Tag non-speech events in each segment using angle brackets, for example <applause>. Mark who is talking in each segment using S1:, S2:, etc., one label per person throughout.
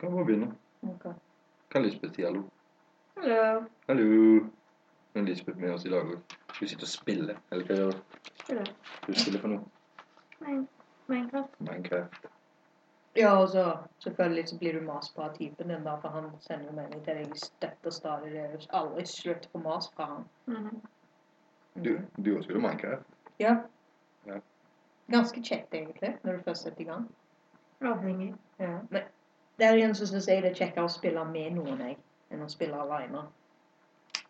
S1: Kan bare begynne.
S2: Ok.
S1: Kan Lisbeth si hallo?
S2: Hallo.
S1: Hallo! Nå er Lisbeth med oss i dag òg. Hun sitter og spiller. Eller hva gjør hun?
S2: Hallo.
S1: Hun spiller for noe.
S2: Min- Minecraft.
S1: Minecraft.
S2: Ja, og så selvfølgelig så blir du mast på av typen din, da, for han sender jo melding til deg støtt og stadig. Det er jo aldri slutt på mas fra han.
S3: Mhm.
S1: Du, du også spiller Minecraft?
S2: Ja.
S1: Ja.
S2: Ganske kjekt, egentlig, når du først setter i gang.
S3: Avhengig.
S2: Ja. Men der igjen så syns jeg det er kjekkere å spille med noen, jeg, enn å spille alene.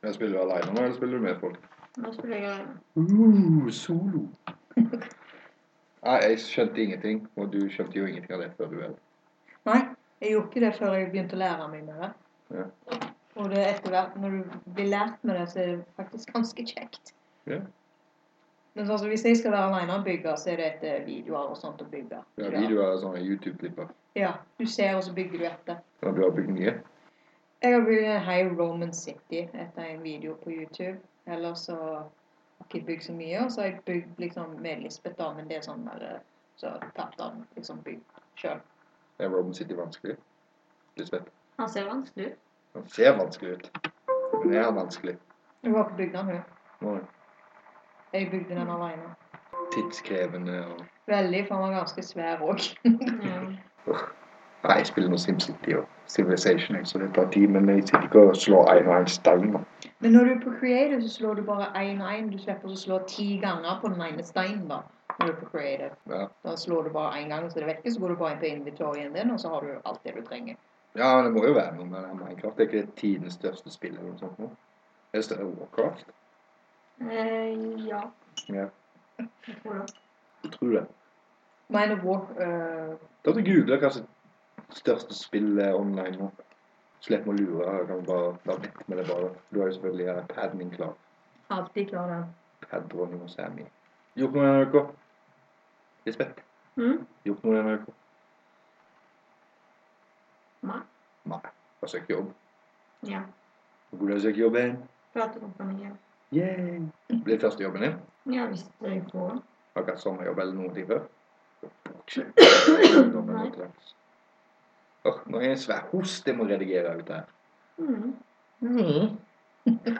S1: Jeg spiller du alene nå, eller spiller du med folk?
S3: Nå spiller jeg alene.
S1: Uh, solo. <laughs> Nei, jeg skjønte ingenting, og du skjønte jo ingenting av det før du heller.
S2: Nei, jeg gjorde ikke det før jeg begynte å lære meg med det.
S1: Ja.
S2: Og det er etter hvert, når du blir lært med det, så er det faktisk ganske kjekt.
S1: Ja.
S2: Men sånn som hvis jeg skal være alene og bygge, så er det etter videoer og sånt å bygge.
S1: Ja, videoer er sånne YouTube-klipper.
S2: Ja, du ser, og så bygger du etter.
S1: Ja, du har bygd nye.
S2: Jeg har bygd en High Roman City etter en video på YouTube. Ellers så har jeg ikke bygd så mye. Og så har jeg bygd liksom med Lisbeth, da, men det er sånn der eh, Så tapte han liksom bygd sjøl.
S1: Er Robin City vanskelig? Lisbeth?
S3: Han ser vanskelig ut.
S1: Han ser vanskelig ut. Men det er vanskelig.
S2: Hun har ikke bygd den, hun.
S1: Nå er
S2: Jeg bygde den alene.
S1: det tidskrevende og
S2: Veldig, for han var ganske svær òg.
S3: Ja.
S1: Nei, jeg spiller nå SimCity og Civilization, jeg, så det tar tid. Men jeg sitter ikke og slår én og én stein. da.
S2: <laughs> men når du er på creative, så slår du bare én og én. Du slipper å slå ti ganger på den ene steinen, da. Når du er på creative.
S1: Ja.
S2: Da slår du bare én gang, så er det vekke. Så går du bare inn på inventorien din, og så har du alt det du trenger.
S1: ja, det må jo være noe med det her Minecraft. Det er ikke tidenes største spill eller noe sånt nå. Det er større enn Warcraft.
S3: Eh, ja.
S1: Ja.
S3: Jeg tror det.
S1: Jeg tror det.
S2: Mine of War eh,
S1: Da må du google hva som er største spill er online nå. Slipp å lure. Jeg kan bare la vett med det bare. Du har jo selvfølgelig eh, paden din klar.
S2: Alltid klar den.
S1: Padron og Sammy. Gjort noe i NRK? Lisbeth?
S3: Mm?
S1: Gjort noe i NRK?
S3: Nei.
S1: Nei. Bare søkt jobb.
S3: Ja.
S1: Hvor burde jeg søke jobb igjen?
S3: Platekompaniet.
S1: Yay! Blir første jobben din?
S3: Ja, hvis jeg får den.
S1: Har ikke hatt sommerjobb eller noen ting før?
S3: Nei.
S1: Åh, nå er jeg en svær host jeg må redigere ut her.
S3: Mm.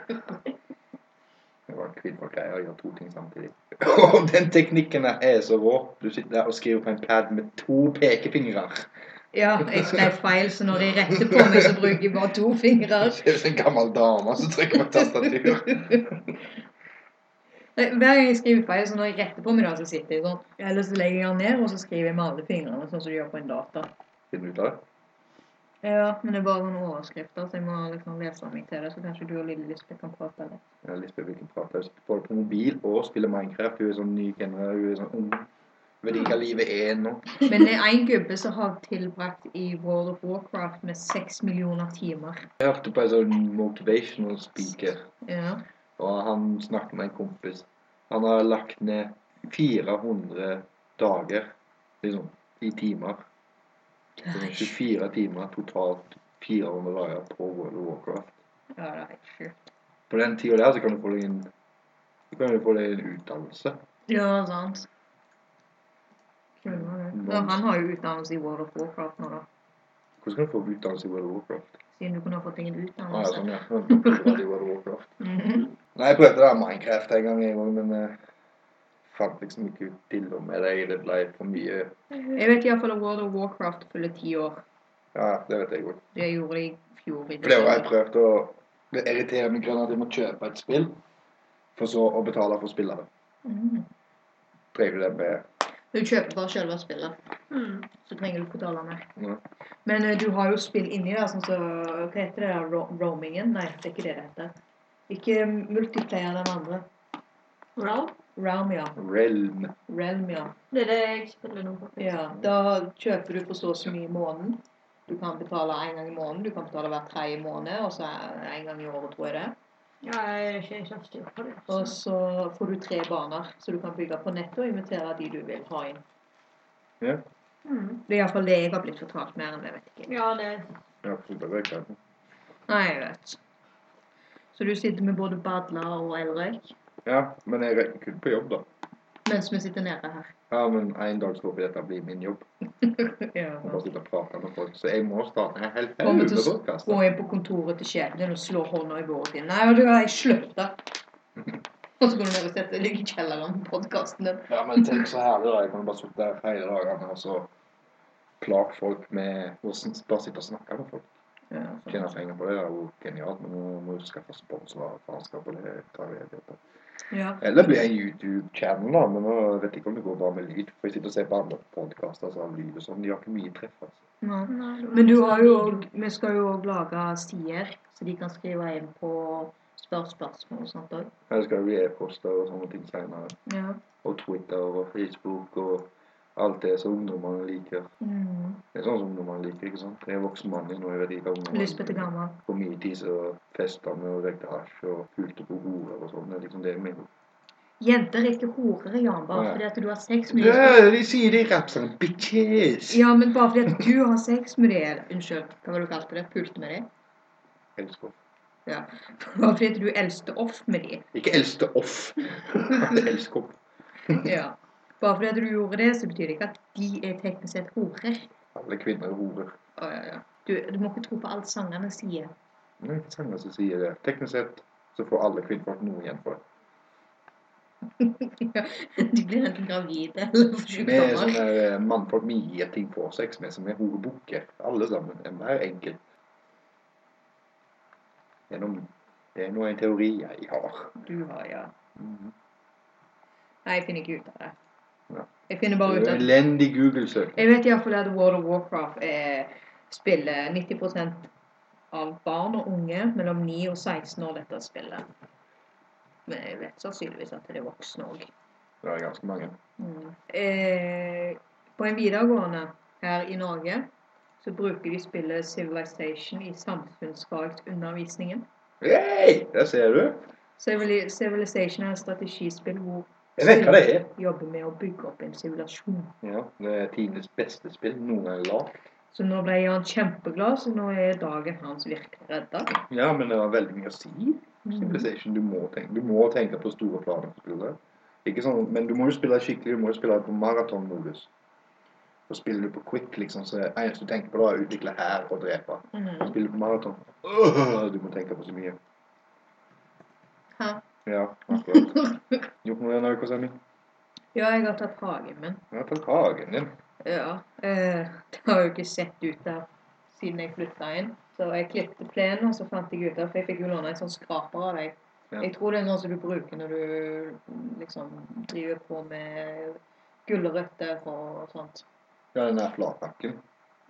S1: Det var en kvinnfolk her, jeg gjør to ting samtidig. Åh, den teknikken her er så rå. Du sitter der og skriver på en pad med to pekefingrer.
S2: Ja, jeg skrev feil, så når de retter på meg, så bruker jeg bare to fingre.
S1: <laughs> Det ser ut som en gammel dame som trykker på tastatur.
S2: Nei, Hver gang jeg skriver feil, så når jeg retter på meg, da, så sitter jeg sånn. Eller så legger jeg den ned, og så skriver jeg med alle fingrene, sånn som du gjør på en data.
S1: Finner du ut av det?
S2: Ja, men det er bare noen overskrifter, så jeg må liksom lese meg til det. Så kanskje du og Lille Lisbeth kan prate litt.
S1: Jeg har lyst til å bruke pratpause. Både på mobil og spille Minecraft. Hun er sånn ny generell, hun er sånn ung. Vet ikke hva livet er nå.
S2: Men det er en gubbe som har tilbrakt i World of Warcraft med seks millioner timer.
S1: Jeg hørte på en sånn motivational speaker,
S2: Ja.
S1: og han snakket med en kompis. Han har lagt ned 400 dager, liksom, i timer. Så det er 24 timer, totalt 400 dager på World of Warcraft.
S2: Ja, det er helt sjukt.
S1: På den tida der så kan du få deg en, så kan du få deg en utdannelse.
S2: Ja, sant. Skjønner du. Ja, han har jo utdannelse i World of Warcraft nå, da.
S1: Hvordan kan du få utdannelse i World of Warcraft?
S2: Siden du kunne ha fått deg en
S1: Ah, ja,
S2: utdannelse.
S1: sånn, ja. En doktorgrad i World of Warcraft.
S2: Mhm.
S1: Nei, jeg prøvde det her Minecraft en gang, jeg òg, men jeg fant liksom ikke ut til og med det. Det ble for mye
S2: Jeg vet iallfall at World of Warcraft fyller ti år.
S1: Ja, det vet jeg òg.
S2: Det gjorde de i fjor. i
S1: Flere har jeg
S2: desember.
S1: prøvd å Det irriterer meg grønn at jeg må kjøpe et spill, for så å betale for å spille det.
S2: Mhm.
S1: Drev det med
S2: Du kjøper bare selve spillet,
S3: Mm.
S2: så trenger du ikke betale mer.
S1: Nei.
S2: Men eh, du har jo spill inni der, sånn som Hva heter det? der, ro- Roamingen? Nei, det er ikke det det heter. Ikke multiplayer, den andre.
S3: Wow.
S2: Realm, ja.
S1: Realm.
S2: Realm, ja.
S3: Det er det jeg spiller nå, faktisk.
S2: Ja, da kjøper du for så og så mye i måneden. Du kan betale én gang i måneden, du kan betale hver tredje måned, og så én gang i året, tror jeg det.
S3: Ja, jeg er ikke helt styr på det.
S2: Og så får du tre baner, så du kan bygge på nettet og invitere de du vil ha inn.
S3: Mm.
S2: Det er iallfall det jeg har blitt fortalt mer enn det, vet jeg ikke.
S3: Ja, det
S1: Ja, for det vet jeg ikke.
S2: Nei, jeg vet. Så du sitter med både Badla og Elrik?
S1: ja, men jeg rekker kun på jobb, da.
S2: mens vi sitter nede her.
S1: Ja, men en dag så håper jeg dette blir min jobb.
S2: Ja,
S1: Og bare sitte og prate med folk. Så jeg må starte en hel haug
S2: Kommer
S1: med
S2: til å s-
S1: podkaster.
S2: Gå inn på kontoret til sjefen din og slå hånda i bordet din. Nei, vet du hva, jeg slutta. Og så går du ned og setter deg i kjelleren på podkasten din.
S1: Ja, men tenk så herlig, da. Jeg kan bare sitte der hele dagene og så plage folk med hvordan Bare sitte og snakke med folk.
S2: Ja, sånn.
S1: Tjene penger på det det er jo genialt, men nå må du skaffe sponsorer og faenskap og det tar vi det på.
S2: ja.
S1: Eller bli en YouTube-channel, da. Men nå vet jeg ikke om det går bra med lyd. For jeg sitter og ser på andre podkaster som har lyd og sånn. De har ikke mye treff, altså.
S2: Nei.
S3: Nei,
S2: Men du har jo òg- Vi skal jo òg lage sider, så de kan skrive inn på spør spørsmål og sånt òg.
S1: Her skal det bli e-poster og sånne ting senere.
S2: Ja.
S1: Og Twitter og Facebook og alt det som ungdommene liker.
S2: Mm.
S1: Det er sånn som ungdommene liker, ikke sant. Jeg er voksen mann nå, jeg vet ikke hva ungdommene
S2: Lyspete gammel.
S1: på min tid så festa vi og røykte hasj og pulte på horer og sånn. Det er liksom det jeg mener.
S2: Jenter er ikke horer, Jan, bare
S1: Nei.
S2: fordi at du har sex med dem.
S1: Ja, de sier det i rappsangen. Bitches!
S2: Ja, men bare fordi at du har sex med dem Unnskyld, hva var det du kalte det? Pult med dem?
S1: Elsker.
S2: Ja. Bare fordi at du eldste off med dem.
S1: Ikke eldste <laughs> off. Elsker.
S2: Ja. Bare fordi at du gjorde det, så betyr det ikke at de er teknisk sett horer.
S1: Alle kvinner er horer.
S2: Å, ja, ja. Du, du må ikke tro på alt sangerne sier. <laughs>
S1: Det er ikke sanger som sier det. Teknisk sett så får alle kvinnfolk noe igjen for det.
S2: De blir enten gravide eller får
S1: Vi er
S2: sykdommer.
S1: sånne eh, mannfolk vi gir ting for sex med, som er horebukker. Alle sammen. Hver enkelt. Det er noe- det er nå en teori jeg har.
S2: Du har, ja.
S1: Mhm.
S2: Nei, jeg finner ikke ut av det.
S1: Ja.
S2: Jeg finner
S1: Det
S2: bare ut
S1: er en
S2: av
S1: Elendig Google-søk.
S2: Jeg vet iallfall at World of Warcraft eh, spiller 90 av barn og unge mellom 9 og 16 år dette spillet. Men jeg vet sannsynligvis at det er voksne òg.
S1: Det er ganske mange.
S2: Mm. Eh, på en videregående her i Norge så bruker de spillet Civilization i samfunnsfagsundervisningen.
S1: Hei, der ser du.
S2: Civili- Civilization er et strategispill hvor
S1: Jeg vet hva det er.
S2: jobber med å bygge opp en sivilisasjon.
S1: Ja, det er tidenes beste spill noen gang lagd.
S2: Så nå ble han kjempeglad, så nå er dagen hans virkelig redda.
S1: Ja, men det har veldig mye å si. Civilization, du må tenke, du må tenke på store planer på spillet. Ikke sånn, men du må jo spille skikkelig, du må jo spille på maratonmodus. Og spiller du på quick, liksom, så er det eneste du tenker på da, er å utvikle her og drepe.
S2: Mm.
S1: Spiller du på maraton, øh, du må tenke på så mye.
S2: Hæ?
S1: Ja, akkurat. Gjort noe igjen av ukasending?
S2: Ja, jeg har tatt hagen min.
S1: Ja, ta hagen din.
S2: Ja. Eh, det har jo ikke sett ut der siden jeg flytta inn. Så jeg klippte plenen, og så fant jeg ut av For jeg fikk jo låne en sånn skraper av deg.
S1: Ja.
S2: Jeg tror det er sånn som du bruker når du liksom driver på med gulrøtter og sånt.
S1: Ja, den der flathakken.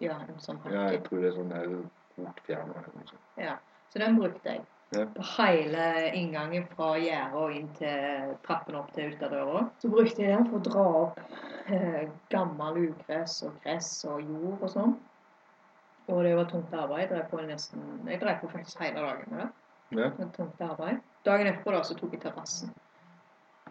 S2: Ja, en sånn
S1: Ja, jeg
S2: hakke.
S1: tror det er sånn der rotfjerner eller noe sånt.
S2: Ja. Så den brukte jeg.
S1: Ja.
S2: På hele inngangen fra gjerdet og inn til trappen opp til utadøra. Så brukte jeg den for å dra opp eh, gammel ugress og gress og jord og sånn. Og det var tungt arbeid. Jeg drev på, nesten, jeg drev på faktisk hele dagen med det.
S1: Ja.
S2: Det var tungt arbeid. Dagen etterpå da, så tok jeg terrassen.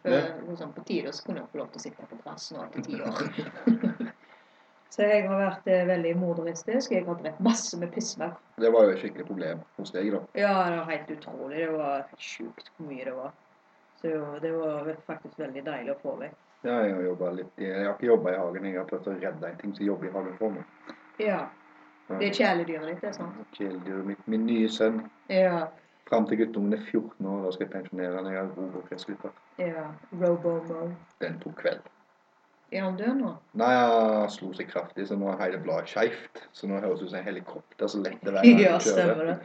S2: For
S1: Ja.
S2: liksom, på tide så kunne jeg få lov til å sitte på terrassen nå etter ti
S1: <laughs>
S2: år. <laughs> så jeg har vært eh, veldig morderistisk. Jeg har drept masse med pissvær
S1: Det var jo et skikkelig problem hos deg, da.
S2: ja, det var helt utrolig. Det var sjukt hvor mye det var. Så det var- det var faktisk veldig deilig å få vekk.
S1: Ja, jeg har jobba litt Jeg har ikke jobba i hagen. Jeg har prøvd å redde en ting som jobber i hagen for meg.
S2: Ja. Det er kjæledyret ditt, det er sant?
S1: Kjæledyret mitt. Min nye sønn.
S2: Ja.
S1: Fram til guttungen er 14 år, da skal jeg pensjonere han. Jeg har ro og kretsklipper.
S2: ja. Robomo.
S1: Den tok kveld.
S2: Er han død nå?
S1: Nei, han slo seg kraftig, så nå er hele bladet skeivt. Så nå høres det ut som en helikopter som letter hver gang
S2: <laughs> Ja,
S1: han kjører.
S2: stemmer det.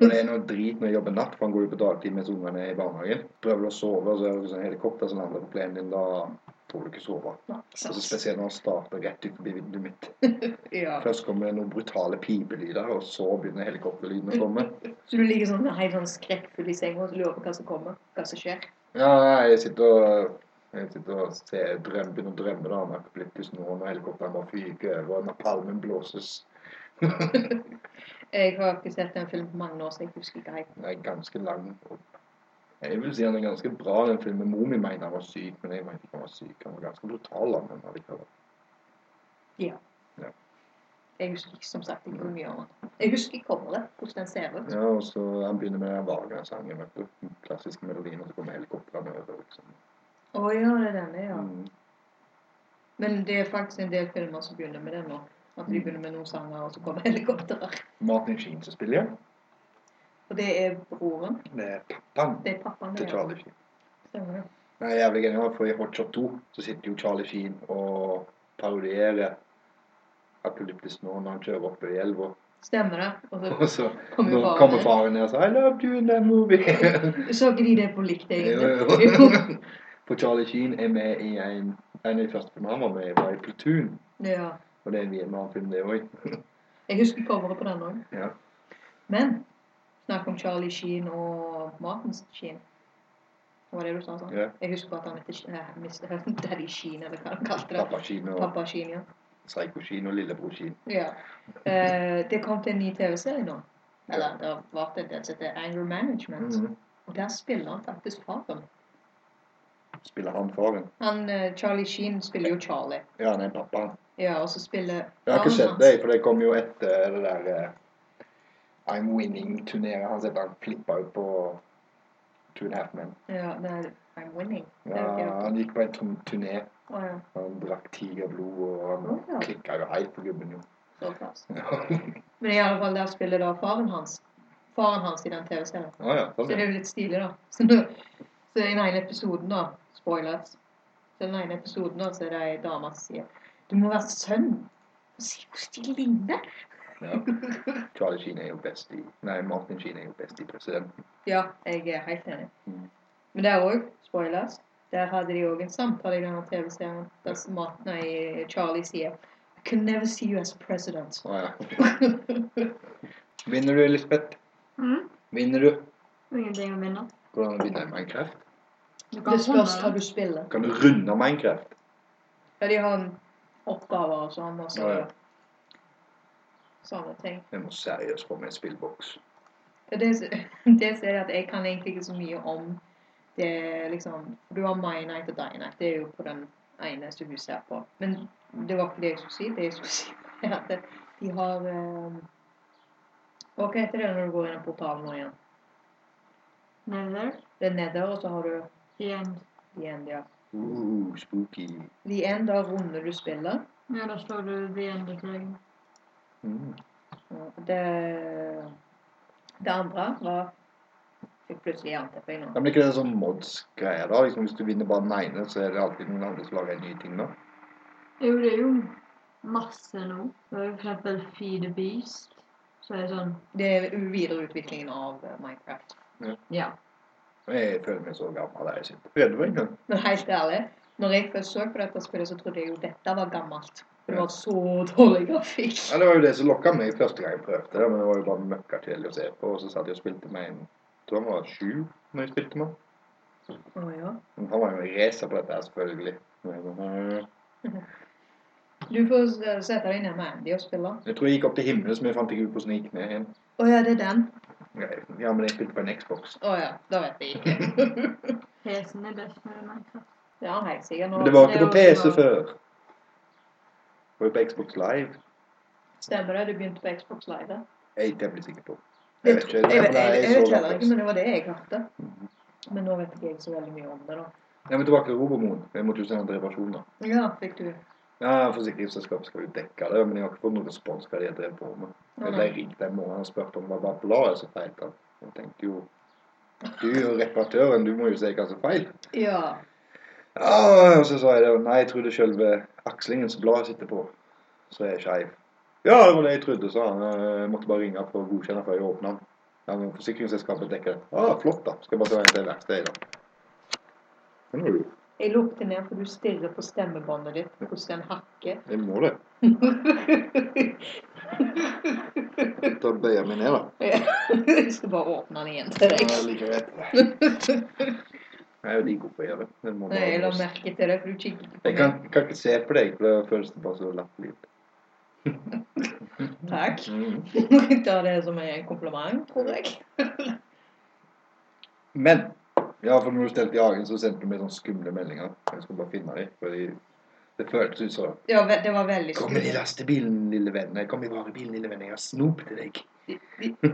S1: Og det er noe drit når jeg jobber natt, for han går jo på dagtid mens ungene er i barnehagen. Prøver du å sove, og så høres det ut som en helikopter som lander på plenen din. Da får du ikke sove.
S2: Nei,
S1: Altså,
S2: sant.
S1: spesielt når han starter rett utenfor vinduet mitt.
S2: Ja.
S1: Først kommer det noen brutale pipelyder, og så begynner helikopterlyden å
S2: Mm.
S1: komme.
S2: Så du ligger sånn helt sånn skrekkfull i senga og lurer på hva som kommer? Hva som
S1: <laughs>
S2: skjer?
S1: Ja, jeg sitter og jeg sitter og ser, drøm, begynner å drømme da, om apokalyptisk nå, når helikopteret bare fyker over, og napalmen blåses.
S2: Jeg har ikke sett den filmen på mange år, så jeg husker ikke helt.
S1: Den er ganske lang. og- Jeg vil si han er ganske bra, den filmen. Mor mi mener han var syk, men jeg mener ikke han var syk. Han var ganske brutal, han, men allikevel.
S2: Jeg husker ikke, som sagt ikke hvor mye av den. Jeg husker coveret, hvordan den ser ut.
S1: Ja, og så han begynner med den Wagner-sangen, vet du. Den klassiske melodien, og så kommer helikopterne over, liksom.
S2: Å ja, det er denne, ja.
S1: Mm.
S2: Men det er faktisk en del filmer som begynner med det nå. At
S1: Mm.
S2: de begynner med noen sanger, og så kommer helikopterer.
S1: Martin Sheen som spiller, ja.
S2: Og det er broren.
S1: Det er pappaen
S2: Det er pappaen.
S1: til
S2: det,
S1: Charlie Sheen.
S2: ja. Stemmer det.
S1: Det er jævlig genialt, for i Hot Shot 2 så sitter jo Charlie Sheen og parodierer Apolyptisk nå når han kjører oppe i elva. <laughs>
S2: Stemmer det. Og så
S1: Og så
S2: kommer jo
S1: nå
S2: faren
S1: kommer
S2: din.
S1: faren ned og sier 'I loved you in that
S2: <laughs>
S1: movie'. <laughs>
S2: Så ikke de det på likt,
S1: Jo,
S2: egentlig?
S1: jo. <laughs> For Charlie Sheen er med i en En av de første filmene han var med i, var i Platoon.
S2: ja.
S1: Og det er en Vietnam-film, det òg.
S2: Jeg husker coveret på den òg.
S1: <laughs> Ja.
S2: Men snakk om Charlie Sheen og Martin Sheen. Det var det du sa, sant?
S1: Ja.
S2: Jeg husker bare at han heter Sheen- eh, Mr. <laughs> Daddy Sheen, eller hva han kalte det.
S1: Pappa Sheen og
S2: Pappa Sheen, ja.
S1: Psycho Sheen og Lillebror Sheen.
S2: ja.
S1: <laughs>
S2: Eh, det kom til en ny TV-serie nå. Eller det har vært en del som heter Anger Management.
S1: Mhm.
S2: Og der spiller han faktisk faren.
S1: Spiller han faren?
S2: Han, eh, Charlie Sheen spiller jo Charlie.
S1: Ja, han er pappaen.
S2: Ja, og så spiller
S1: Jeg har ikke
S2: faren
S1: sett
S2: hans-
S1: det, for det kom jo etter det der eh, I'm winning-turneret. Han setter han flippa ut på Two and a Half Men.
S2: Ja, nei, I'm winning. Det
S1: Ja,
S2: er jo ikke det.
S1: han gikk på en turn- turné.
S2: Å ja,
S1: Han drakk tigerblod, og han
S2: Å, ja.
S1: klikka jo helt på
S2: <laughs>
S1: gubben, jo.
S2: såpass.
S1: Å
S2: Men i alle fall der spiller da faren hans. Faren hans i den TV-serien.
S1: ja.
S2: Så det
S1: Sånn.
S2: er jo litt stilig, da. <laughs> Så, nå- så i den ene episoden, da Spoilers. Så i den ene episoden da, så er det ei dame som sier Du må være sønn. Se hvordan de ligner!
S1: ja.
S2: <laughs>
S1: Charlie Sheen er jo best i Nei, Martin Sheen er jo best i presidenten.
S2: Ja, jeg er helt enig.
S1: Mm.
S2: Men der òg, spoilers, der hadde de òg en samtale i denne TV-serien der Mart- nei, Charlie sier I can never see you as president. <laughs>
S1: Å ja. Vinner du, Lisbeth?
S3: Mm.
S1: Vinner du?
S3: Ingenting å vinne.
S1: Hvordan vinner jeg Minecraft?
S3: Du kan
S2: Det spørs
S3: runde
S2: hva
S3: den.
S2: du spiller.
S1: Kan du runde Minecraft?
S2: Ja, de har oppgaver og sånn, og så
S1: Ja, ja.
S2: sånne ting.
S1: Jeg må seriøst få meg en spillboks.
S2: Ja, Det, det ser <laughs> jeg at jeg kan egentlig ikke så mye om det liksom Du har My Night og Die Night. Det er jo på den ene som du ser på. Men det var ikke det jeg skulle si. Det jeg skulle si, er <laughs> at de har eh, Hva heter det når du går inn i portalen nå igjen?
S3: Never.
S2: Det er neder, og så har du
S3: Igjen.
S2: The End, ja.
S1: Uh, spooky.
S2: The End, da runder du spillet.
S3: Ja, da slår du the end of dragon.
S1: Mm.
S2: Og Det, det andre var Fikk plutselig jernteppe i nå.
S1: Ja, men ikke det er sånn mods-greie, da? Liksom, hvis du vinner bare den ene, så er det alltid noen andre som lager en ny ting, da?
S3: Jo, det er jo masse nå. Det er jo for eksempel Feed the Beast. Så er det sånn
S2: Det er videreutviklingen av eh, Minecraft.
S3: Ja.
S1: Og Jeg føler meg så gammel der jeg sitter. Redd for en gang.
S2: Men helt ærlig, når jeg først så på dette spillet, så trodde jeg jo dette var gammelt. For det var så dårlig grafikk.
S1: Ja, det var jo det som lokka meg første gang jeg prøvde det, men det var jo bare møkkakjedelig å se på. Og så satt jeg og spilte med en tror han var sju når jeg spilte med han.
S2: Å ja.
S1: Men Han var jo en racer på dette her, selvfølgelig. Men jeg bare,
S2: Du får s- eh, sette deg ned med Andy og spille.
S1: «Åh». Jeg tror jeg gikk opp til himmelen, så jeg fant ikke ut hvordan jeg gikk ned igjen.
S2: Å ja, det er den.
S1: Ja, men jeg spilte på en Xbox.
S2: Å ja, da vet jeg ikke.
S3: PC-en er best med Minecraft.
S2: Det er han helt sikkert.
S1: Men det
S2: Nå
S1: var ikke på PC før. Det var jo på Xbox Live.
S2: stemmer det, du begynte på Xbox Live. da?
S1: Jeg er temmelig sikker på.
S2: Jeg
S1: vet ikke,
S2: vet jeg
S1: for det er
S2: vet- jeg
S1: så
S2: vet heller
S1: gammelt.
S2: ikke, men det Mm. var det jeg hørte. Men nå vet ikke jeg så veldig mye om det, da.
S1: Jeg må tilbake til Robomoen. Jeg måtte jo sende en reparasjon, da.
S2: Ja, fikk du.
S1: Ja, Forsikringsselskapet skal jo dekke det, men jeg har ikke fått noen respons hva de har drevet på med. Jeg ble ringt en måned og spurte om det var bladet som feilte. Jeg tenkte jo Du er jo reparatøren, du må jo si hva som er feil.
S2: Ja.
S1: Ja, og så sa jeg det. Nei, jeg trodde selve akslingen som bladet sitter på, så er skeiv. Ja, det var det jeg trodde, sa han. Jeg måtte bare ringe for å godkjenne før jeg åpna den. Ja, men forsikringsselskapet dekker det. Ja, ah, flott, da. Skal jeg bare ta en til verkstedet, da. Det må du.
S2: Jeg lukter ned, for du stirrer på stemmebåndet ditt, hvordan den hakker.
S1: Jeg må det.
S2: <laughs>
S1: Da bøyer jeg meg ned, da.
S2: Jeg skal bare åpne den igjen til
S1: <laughs>
S2: deg.
S1: Jeg liker rett. Jeg er like god på å gjøre det. det. må
S2: Nei,
S1: bare
S2: jeg la
S1: gjøres.
S2: merke til det, for du kikker ikke på
S1: jeg kan, kan ikke se på deg, for det føles det bare så latterlig ut.
S2: meg. Takk. <laughs>
S1: Mm.
S2: Jeg tar det som en kompliment, tror jeg. <laughs>
S1: Men ja, for når du stelte jagen, så sendte du meg sånne skumle meldinger. Jeg skulle bare finne dem. Fordi det føltes ut som
S2: Ja, ve- det var veldig
S1: Kom med i
S2: skummelt.
S1: lastebilen, lille venn. Kom i varebilen, lille venn. Jeg har snop til deg.
S2: Det det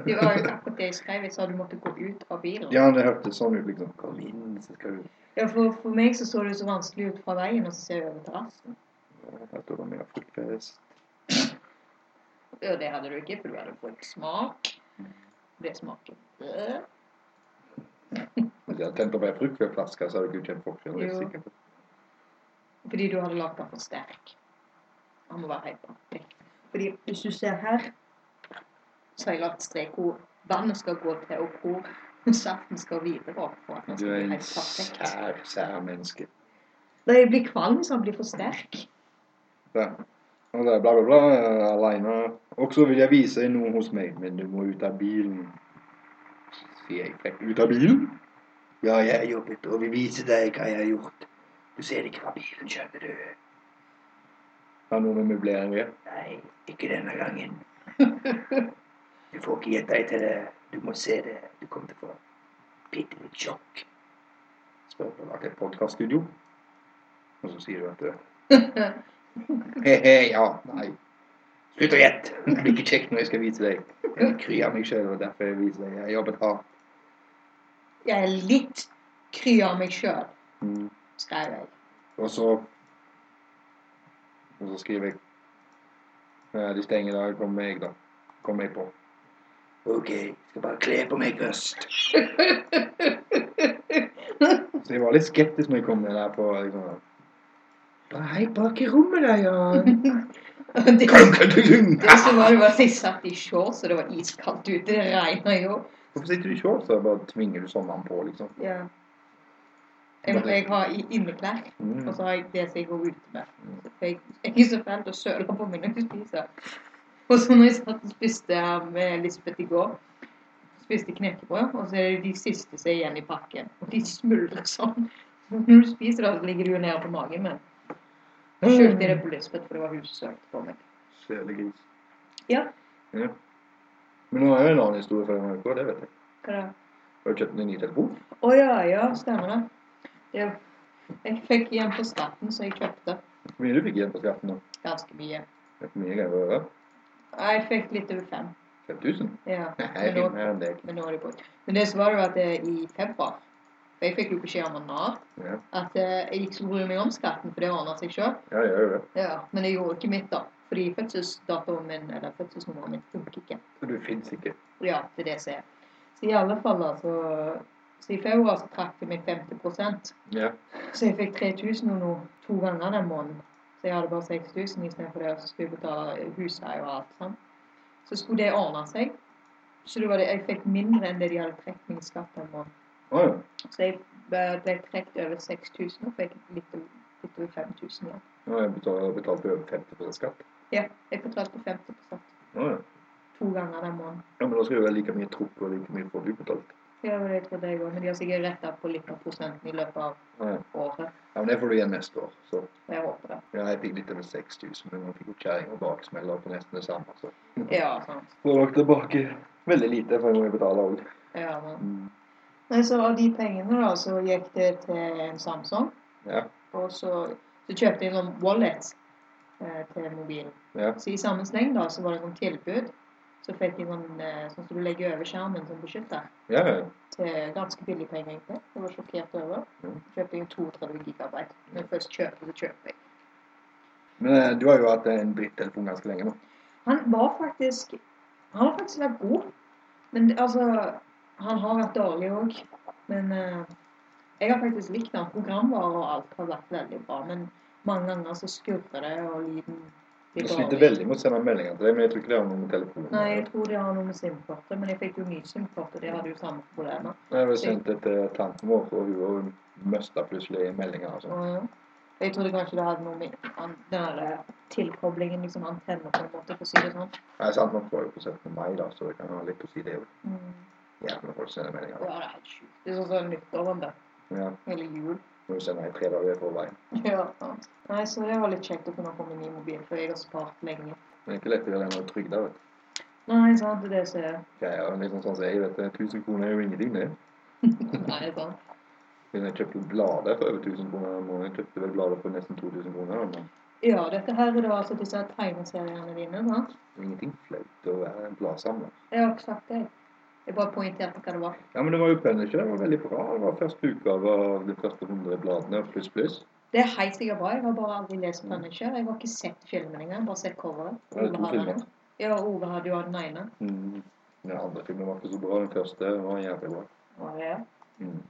S2: var jo akkurat det jeg skrev. Jeg sa du måtte gå ut av bilen.
S1: Ja, det hørtes sånn ut, liksom. Kom inn, så skal du
S2: Ja, for, for meg så så det så vanskelig ut fra veien, og så ser jeg over terrassen.
S1: Jeg tror de er fruktfest.
S2: Ja, det hadde du ikke, for du hadde fått smak. Det smaker øh.
S1: Hvis jeg hadde tent opp ei fruktflaske, så hadde du ikke kjent forskjell. det er
S2: Jo.
S1: sikkert.
S2: Fordi du hadde lagd den for sterk. Han må være hyper. Fordi hvis du ser her, så har jeg lagt strekkord. Vannet skal gå til og hvor saften skal videre opp. For at den
S1: Du er
S2: skal bli
S1: en
S2: helt perfekt.
S1: sær, sær menneske.
S2: Da jeg blir kvalm hvis han blir for sterk. <laughs>
S1: Der. Og det er bla, eh, bla, bla. Aleine. Også vil jeg vise deg noe hos meg, men du må ut av bilen. Sier jeg frekk. Ut av bilen? Ja, jeg har jobbet og vil vise deg hva jeg har gjort. Du ser ikke fra bilen, skjønner du. Det er noe med møblering ved.
S4: Nei, ikke denne gangen. Du får ikke gjette deg til det. Du må se det. Du kommer til å få bitte litt sjokk.
S1: Spør om det er et podcaststudio. Og så sier du at det He-he, ja. Nei.
S4: Slutt å gjette!
S1: <laughs> Det blir ikke kjekt når jeg skal vise deg. Jeg kryr av meg selv, og derfor jeg viser deg. Jeg har jobbet hardt.
S2: Jeg er litt kry av meg sjøl,
S1: Mm.
S2: skrev jeg. <laughs>
S1: Og så Og så skriver jeg «Eh, De stenger i dag. Kom med jeg, da. Kom meg på.
S4: Ok, skal bare kle på meg først.
S1: Så jeg var litt skeptisk når jeg kom ned der på liksom,
S4: Bare hei bak i rommet der, Jan.
S2: Det,
S1: «Kung, kung, kung, kung!»
S2: det som var, det var at jeg satt i shorts, og det var iskaldt ute. Det regna jo.
S1: Hvorfor sitter du i shorts og bare tvinger du sommeren på, liksom?
S2: Ja. Jeg, jeg har i- inneklær.
S1: Mm.
S2: Og så har jeg det som jeg går ut med. For jeg jeg er ikke så fæl til å søle på meg når jeg spiser. Og så når jeg satt og spiste her med Lisbeth i går, spiste knekkebrød, og så er det de siste som er igjen i pakken. Og de smuldrer sånn. Og Når du spiser det, så ligger du jo nede på magen min. Da
S1: Mm.
S2: skjølte jeg det på Lisbeth, for det var hun som sølte på meg.
S1: Selegris.
S2: Ja.
S1: ja. Men nå er jo en annen historie fra denne uka, det vet jeg.
S2: Hva da?
S1: Har du kjøpt en ny telefon?
S2: Å ja, ja, stemmer det. det. Jeg fikk igjen på skatten, så jeg kjøpte
S1: Hvor mye du fikk igjen på skatten nå?
S2: ganske mye.
S1: Det er for mye greier å gjøre.
S2: Jeg fikk litt over fem.
S1: 5000?
S2: Ja.
S1: Nei, jeg
S2: Men
S1: fikk
S2: nå-
S1: mer enn deg.
S2: Men nå er det brukt. Men det som var, det var at eh, i februar For jeg fikk jo beskjed om Nav
S1: Ja,
S2: at eh, jeg ikke skulle bry meg om skatten, for det ordna seg sjøl.
S1: ja jeg gjør jo det.
S2: Ja, men jeg gjorde ikke mitt, da. Fordi fødselsdatoen min, eller fødselsnummeret mitt funker ikke.
S1: Så du finnes ikke.
S2: Ja, det er det som er. Så i alle fall, altså Så i februar så trakk jeg meg 50
S1: Ja.
S2: Så jeg fikk 3000 og noe to ganger den måneden. Så jeg hadde bare 6000 istedenfor det, og så skulle jeg betale husleie og alt sånn. Så skulle det ordne seg. Så det var det, jeg fikk mindre enn det de hadde trukket min skatt den måneden.
S1: Å ja.
S2: Så jeg eh, ble ble trukket over 6000 og fikk litt o- litt over 5000 igjen.
S1: Nå har jeg betalt, betalt over 50 skatt.
S2: Ja, jeg betalte 50
S1: Å ja.
S2: to ganger den måneden.
S1: ja, men da skal du være like mye tropp og like mye får du betalt.
S2: Ja, det var det jeg trodde jeg òg, men de har sikkert retta på litt av prosenten i løpet av
S1: Å ja.
S2: året.
S1: ja, men det får du igjen neste år. Så
S2: Og jeg håper det.
S1: ja, jeg fikk litt over 6000, men nå fikk jo kjerring og baksmeller på nesten det samme. Så
S2: Ja, sant.
S1: får dere tilbake veldig lite, for jeg må jo betale òg.
S2: Ja, men.
S1: Mm,
S2: Nei, så av de pengene, da, så gikk det til en Samsung.
S1: Ja.
S2: Og så, så kjøpte jeg en sånn wallet eh, til mobilen.
S1: Ja.
S2: Så i samme sleng da, så var det sånn tilbud. Så fikk jeg sånn, eh, sånn som du legger over skjermen som beskytter.
S1: Ja, ja.
S2: til ganske billig penger, egentlig. Jeg var sjokkert over.
S1: Mm.
S2: Kjøpte jeg en 32 gigabyte. Når jeg først kjøper, så kjøper jeg.
S1: Men eh, du har jo hatt en drittelefon ganske lenge nå.
S2: Han var faktisk Han har faktisk vært god. Men det- altså Han har vært dårlig òg. Men eh, jeg har faktisk likt han. Programvare og alt har vært veldig bra. Men mange ganger så skurrer det, og lyden blir
S1: Jeg sliter
S2: dårlig.
S1: veldig med å sende meldinger til deg, men jeg tror ikke det har noe med telefonen å
S2: Nei, jeg
S1: gjøre.
S2: tror det har noe med SIM-kortet, men jeg fikk jo ny SIM-kort, og det hadde jo samme problemer.
S1: Jeg har sendt det til tanten vår, og hun har jo mista plutselig meldinger. Altså.
S2: Og Mm. Jeg trodde kanskje det hadde noe med an- den der tilkoblingen, liksom antenner på en måte, for å si det sånn.
S1: Jeg sant nok var jo på 17. mai, da, så det kan ha litt å si, det òg.
S2: Mm.
S1: Jævla folk sender
S2: Ja,
S1: meldinger.
S2: det er helt sjukt. Det er sånn som nyttåren, det.
S1: Ja,
S2: Eller jul.
S1: Må jo sende i tre dager i forveien.
S2: Ja. Nei, så det var litt kjekt å kunne komme med ny mobil, for jeg har spart lenge.
S1: Men det er ikke lett å gjøre det når du er trygda, vet du.
S2: Nei, sant, det er det som er
S1: Jeg er jo liksom sånn som jeg vet, 1000 kroner er jo ingenting, det.
S2: Nei, sant.
S1: Men Jeg kjøpte blader for over 1000 kroner i måneden. Jeg kjøpte vel blader for nesten 2000 kroner. da, Men
S2: gjøre dette her, da, altså disse tegneseriene dine, sant?
S1: Det er ingenting flaut å være en bladsamler.
S2: Jeg har ikke sagt det. Jeg bare poengterte hva det var.
S1: Ja, men det var jo Punisher. Det var veldig bra. Det var første utgave av de første 100 bladene, pluss, pluss.
S2: Det er helt sikkert bra. Jeg har bare aldri lest Punisher. Jeg har ikke sett filmen engang. Bare sett coveret.
S1: Ja, det er to
S2: Ove hadde
S1: filmer.
S2: den. Ja, Ove hadde jo den ene.
S1: Mm. Den andre filmen var ikke så bra. Den første var jævlig bra.
S2: Var det?
S1: Mm.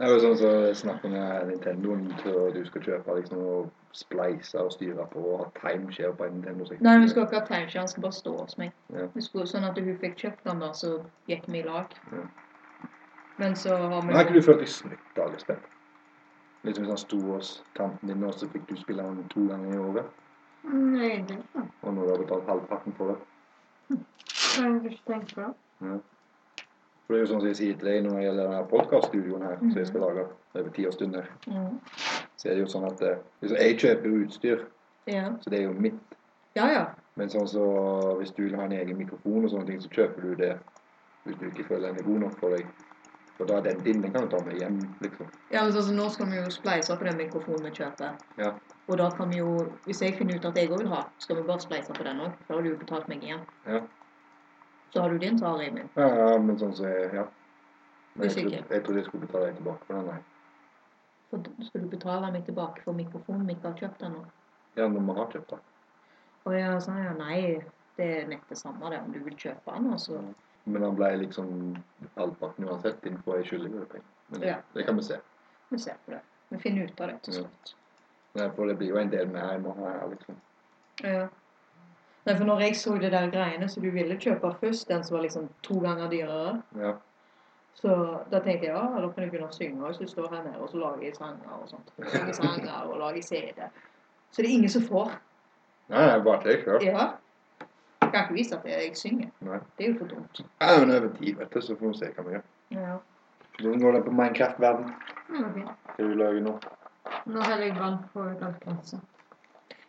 S1: Det er jo sånn som snakker med Nintendoen til at du skal kjøpe liksom og spleise og styre på og at time skjer på en Nintendo 64.
S2: Nei, vi skulle ikke ha Punisher. Han skulle bare stå hos meg.
S1: Ja.
S2: Vi skulle, sånn at hun fikk kjøpt den, da, så gikk vi i lag.
S1: Ja.
S2: Men så har
S1: Men har ikke
S2: vi
S1: du følt deg snytt av alle spill? Liksom hvis han sto hos tanten din, og så fikk du spille han to ganger i året,
S3: Mm, egentlig ikke.
S1: og nå har du betalt halvparten for det.
S3: Jeg har ikke tenkt på det.
S1: Ja. For det er jo sånn som jeg sier til deg når det gjelder denne podcaststudioen her, som jeg skal lage over ti års stund her,
S2: mm.
S1: så er det jo sånn at eh, liksom, jeg kjøper jo utstyr,
S2: ja.
S1: så det er jo mitt.
S2: ja, ja.
S1: Men sånn så, hvis du vil ha en egen mikrofon og sånne ting, så kjøper du det hvis du ikke føler den er god nok for deg. For da er den din, den kan du ta med hjem, liksom.
S2: Ja, men altså, Nå skal vi jo spleise på den mikrofonen vi kjøper.
S1: Ja.
S2: Og da kan vi jo, hvis jeg finner ut at jeg òg vil ha, skal vi bare spleise på den òg. Da har du jo betalt meg igjen.
S1: Ja,
S2: Så har du din, så har jeg min.
S1: ja, ja men sånn så, ja. Men
S2: Hvis
S1: jeg,
S2: ikke.
S1: trodde- jeg trodde jeg skulle betale deg tilbake for den, nei.
S2: For da skal du betale meg tilbake for mikrofonen vi ikke har kjøpt ennå?
S1: Ja, når man har kjøpt den.
S2: Og jeg sa ja, nei, det er nett det samme det, om du vil kjøpe den. Altså.
S1: Men han ble liksom halvparten uansett, innenfor jeg skylder jo det penger. Men
S2: Ja.
S1: det kan vi se.
S2: Vi ser på det. Vi finner ut av det til
S1: Ja.
S2: slutt.
S1: Nei, for det blir jo en del med her nå her, liksom.
S2: Ja. Nei, for når jeg så det der greiene som du ville kjøpe først, den som var liksom to ganger dyrere,
S1: Ja.
S2: så da tenkte jeg ja, da kan jeg begynne å synge også. Så står jeg her nede og så lager jeg sanger og sånt. Synger sanger og lager CD. Så det er ingen som får.
S1: Nei, nei, bare til deg sjøl.
S2: Ja. Jeg kan ikke vise at jeg synger.
S1: Nei.
S2: Det er jo for dumt.
S1: Ja, men over tid, vet du, så får vi se hva vi gjør.
S2: Ja.
S1: Hvordan går det på Minecraft-verden?
S3: Det var fint.
S1: Skal du lage nå?
S3: Nå heller jeg vann på glattglasset.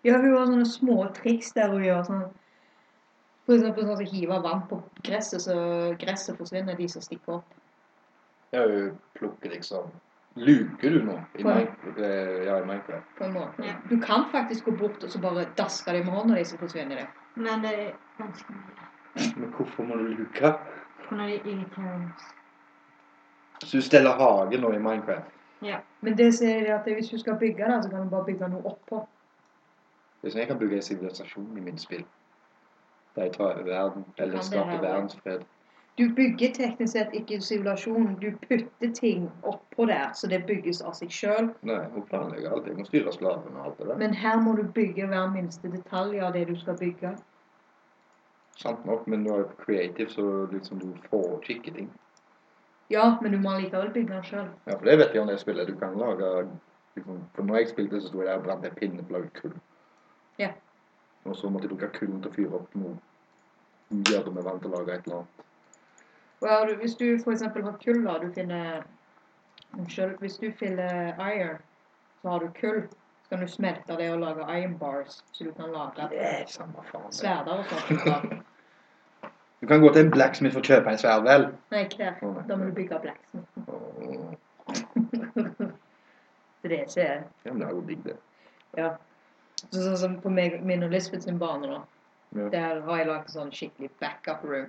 S2: Ja, hun har sånne små triks der hun gjør sånn For eksempel sånn som hiver vann på gresset, så gresset forsvinner, de som stikker opp.
S1: Ja, hun plukker liksom Luker du nå i,
S2: Hva?
S1: Minecraft, eh, ja, i Minecraft?
S2: på en måte.
S3: Ja.
S2: Du kan faktisk gå bort og så bare daske dem med hånda, de som forsvinner det.
S3: Men det er ganske mye.
S1: Men hvorfor må du luke?
S3: For når de er irriterende.
S1: Så du steller hage nå i Minecraft?
S2: Men det sier de at hvis du skal bygge det, så kan du bare bygge noe oppå.
S1: Det er sånn jeg kan bygge en sivilisasjon i mitt spill. Der jeg tar over verden, eller
S2: Kan det
S1: skaper
S2: her, ja.
S1: verdensfred.
S2: Du bygger teknisk sett ikke simulasjon, du putter ting oppå der, så det bygges av seg sjøl.
S1: Nei, hun planlegger alt. Jeg må styre slavene og alt det der.
S2: Men her må du bygge hver minste detalj av det du skal bygge.
S1: Sant nok, men du er jo creative, så liksom du får kikke ting.
S2: Ja, men du må allikevel bygge den sjøl.
S1: Ja, for det vet jeg om det spillet. Du kan lage liksom, For når jeg spilte, så sto jeg der og brant en pinne på å lage kull.
S2: Ja.
S1: Og så måtte jeg bruke kullen til å fyre opp noe. Gjøre med vann til å lage et eller annet.
S2: Well, hvis du f.eks. har kull, da, du finner Unnskyld. Hvis du finner iron, så har du kull. Så kan du smelte det og lage iron bars, så du kan lage
S1: Det er samme faen. det.
S2: sverder og sånt.
S1: Du kan gå til en blacksmith og kjøpe en sverd, vel?
S2: Nei, klær.
S1: Å, nei.
S2: Da må du bygge blacksmith.
S1: Åh,
S2: Så <laughs> det er ikke
S1: Ja, men det er jo digg, det.
S2: Ja. Så, sånn som på meg, min og Lisbeth sin bane, da.
S1: Ja.
S2: Der har jeg lagd sånn skikkelig backup room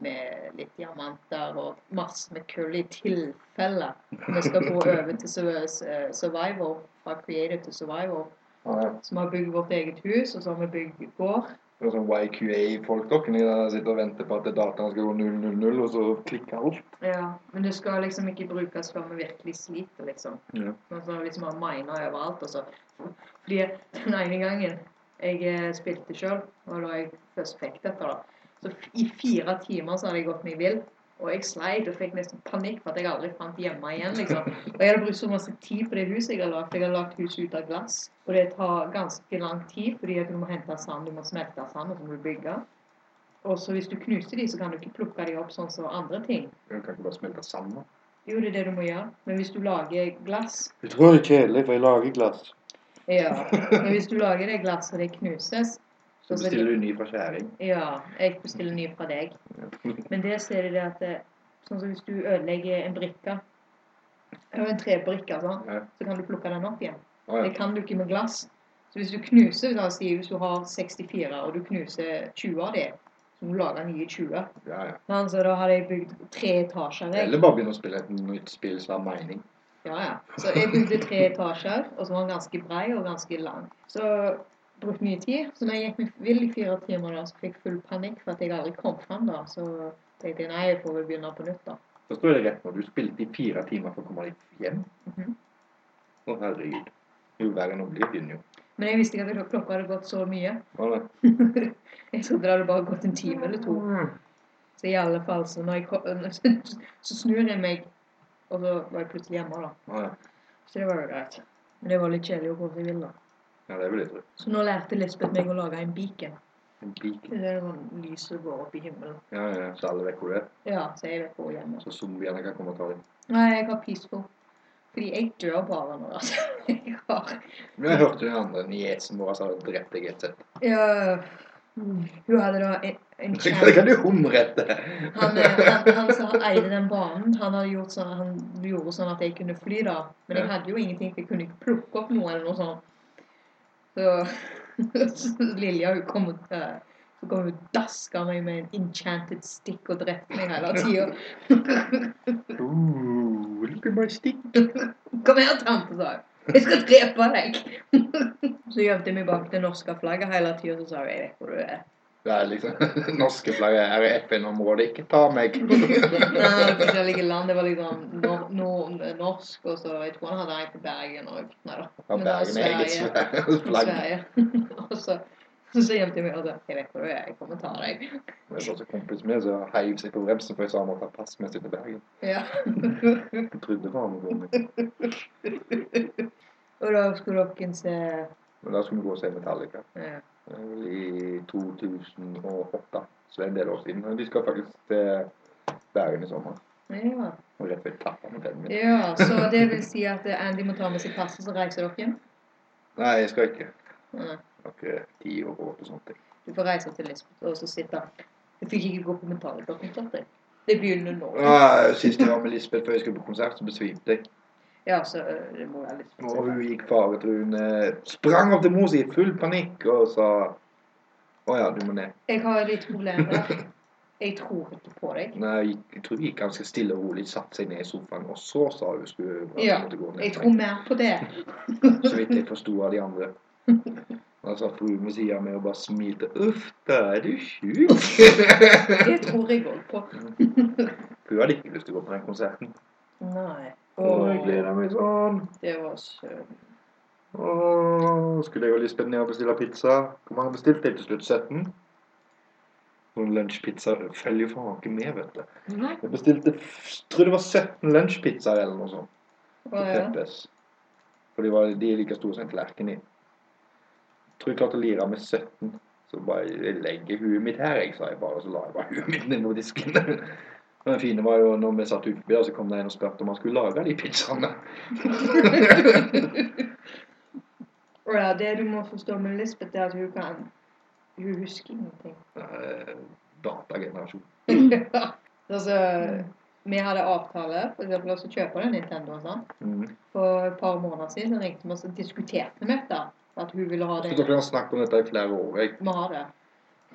S2: med litt diamanter og masse med kull i tilfelle vi skal gå over til su- eh, survival, fra creative til survival.
S1: Ah, ja.
S2: Så vi har bygd vårt eget hus, og så har vi bygd gård.
S1: Det er sånn YQA-folk dere de der sitter og venter på at dataen skal gå 000, og så klikker alt.
S2: Ja. Men det skal liksom ikke brukes før vi virkelig sliter, liksom.
S1: Ja.
S2: Men så liksom har mina overalt. Og så. Fordi den ene gangen jeg eh, spilte sjøl, og da jeg først fikk dette, da, så f- i fire timer så hadde jeg gått meg vill. Og jeg sleit og fikk nesten panikk for at jeg aldri fant hjemme igjen. liksom. Og jeg hadde brukt så masse tid på det huset jeg hadde lagd. Jeg hadde lagd huset ut av glass. Og det tar ganske lang tid, fordi at du må hente sand, du må smelte sand, og så må du bygge. Og så hvis du knuser de, så kan du ikke plukke de opp sånn som andre ting.
S1: Du kan ikke bare smelte sammen.
S2: Jo, det er det du må gjøre. Men hvis du lager glass,
S1: Utrolig kjedelig, for jeg lager glass.
S2: Ja, men hvis du lager det glasset og det knuses
S1: Så bestiller du ny fra skjæring.
S2: Ja, jeg bestiller ny fra deg. Men det ser du det at eh, Sånn som hvis du ødelegger en brikke eller En trebrikke, altså,
S1: Ja.
S2: så kan du plukke den opp igjen.
S1: Ah,
S2: Det
S1: ja.
S2: kan du ikke med glass. Så hvis du knuser, la oss si hvis du har 64 og du knuser 20 av det, så må du lage nye 20.
S1: Ja, ja.
S2: Men altså, da hadde jeg bygd tre etasjer. Jeg.
S1: Eller bare begynne å spille et nytt spill som er mining.
S2: Ja, ja. Så jeg bygde tre etasjer, og så var den ganske brei og ganske lang. Så brukte mye tid. Så da jeg gikk meg vill i fire timer, da, så fikk jeg full panikk for at jeg aldri kom fram. da. Så tenkte jeg nei, jeg får vel begynne på nytt, da.
S1: Da står det rett når du spilte i fire timer for å komme deg hjem.
S2: Mhm.
S1: Å, herregud. Jo, verre enn å bli begynner jo.
S2: Men jeg visste ikke at klokka hadde gått så mye. <laughs>
S1: Hva er det?
S2: Jeg trodde det hadde bare gått en time eller to. Så i alle fall, så når jeg kom, <laughs> så snur jeg meg, og så var jeg plutselig hjemme, da.
S1: Å, ja.
S2: Så det var jo greit. Men det var litt kjedelig å gå seg vill, da.
S1: ja, det er vel litt rødt.
S2: Så nå lærte Lisbeth meg å lage en beacon.
S1: En pike.
S2: Det er sånn lys som går opp i himmelen.
S1: Ja, ja, ja. Så alle vet hvor det er.
S2: Ja, så jeg vet hvor hjemme.
S1: Så zombiene kan komme og ta deg.
S2: Nei, jeg har peaceful. Fordi jeg dør bare nå, altså. <laughs> Jeg har
S1: Men jeg hørte den andre niesen vår som hadde drept deg i et sett.
S2: ja, mm. Hun hadde da en,
S1: <laughs>
S2: en
S1: Det
S2: kjæreste
S1: kan du humrette.
S2: han, eh, han, han som eide den banen, han, hadde gjort sånn, han gjorde sånn at jeg kunne fly, da. Men jeg
S1: Ja.
S2: hadde jo ingenting, for jeg kunne ikke plukke opp noe eller noe sånt. Så, <laughs> så Lilja hun kom og eh, så kom hun og daska meg med en enchanted stick og drepte meg hele tida.
S1: <laughs> Ooh, look at my stick.
S2: Kom her, tante, sa hun. Jeg skal drepe deg. <laughs> Så gjemte jeg meg bak det norske flagget hele tida, så sa hun jeg vet hvor du <laughs> er.
S1: Det er liksom <laughs> norske flagget her i FN-området. Ikke ta
S2: <laughs>
S1: meg. <laughs>
S2: Nei, forskjellige land. Det var liksom nor nor norsk, og så jeg tror han hadde en på Bergen òg. Nei da.
S1: Ja,
S2: Men det var
S1: Bergen er eget
S2: Sverige.
S1: svære flagg.
S2: Sverige. <laughs> og så, så gjemte jeg meg og sa jeg vet hvor du er, jeg kommer ta deg.
S1: Det var også kompis med som heiv seg på bremsen for jeg sa han måtte ha pass med seg til Bergen.
S2: Ja. <laughs>
S1: Jeg trodde faen meg på meg.
S2: og da skulle dere se
S1: Men da skulle vi gå og se Metallica.
S2: ja.
S1: Det er vel I 2008. Så det er en del år siden. Men vi skal faktisk til Bergen i sommer.
S2: Ja.
S1: Og rett ved tappa med pennen min.
S2: ja, så det vil si at eh, Andy må ta med seg passet, så reiser dere hjem?
S1: Nei, jeg skal ikke.
S2: Nei.
S1: Jeg har ikke ti år på og sånt. jeg.
S2: Du får reise til Lisbeth og så sitte Jeg fikk ikke gå på Metallica-konsert, jeg. Det begynner nå.
S1: Nei, Sist jeg var med Lisbeth før jeg skulle på konsert, så besvimte jeg.
S2: Ja, så øh, det må være Lisbeth.
S1: Og hun gikk faretruende, sprang opp til mor si i full panikk og sa Å ja, du må ned.
S2: Jeg har litt problemer. Jeg tror ikke på deg.
S1: Nei, jeg, gikk- jeg tror hun gikk ganske stille og rolig, satte seg ned i sofaen, og så sa hun skulle
S2: Ja,
S1: måtte gå ned.
S2: Jeg tror mer på det.
S1: Så vidt jeg forsto av de andre. Da satt fruen ved siden av meg og bare smilte. 'Uff, da er du sjuk'.
S2: Det tror jeg òg på.
S1: hun hadde ikke lyst til å gå på den konserten.
S2: Nei.
S1: Og
S2: Åh,
S1: jeg gleda meg sånn.
S2: det var søtt.
S1: Åh, skulle jeg og Lisbeth ned og bestille pizza? Hvor mange bestilte jeg til slutt? 17? Noen lunsjpizza følger jo faen ikke med, vet du.
S3: Nei.
S1: Jeg bestilte f- tror det var 17 lunsjpizzaer eller noe sånt. på
S2: Ja.
S1: Peppes. For de, var, de er like store som en tallerken i. Tror jeg klarte å lire med 17. Så bare jeg legger huet mitt her, jeg, sa jeg bare. Og så la jeg bare <laughs> huet mitt ned på disken. Men det fine var jo når vi satt utenfor, der, så kom det en og spurte om han skulle lage de pizzaene.
S2: Og <laughs> ja, det du må forstå med Lisbeth, er at hun kan Hun husker ingenting.
S1: Eh, Datagenerasjon.
S2: <laughs> altså, vi hadde avtale for eksempel, å kjøpe den Nintendo. og sånn.
S1: Mm.
S2: For et par måneder siden så ringte vi oss og diskuterte med dette. At hun ville ha
S1: Så
S2: det.
S1: dere har snakket om dette i flere år. Jeg
S2: Vi har det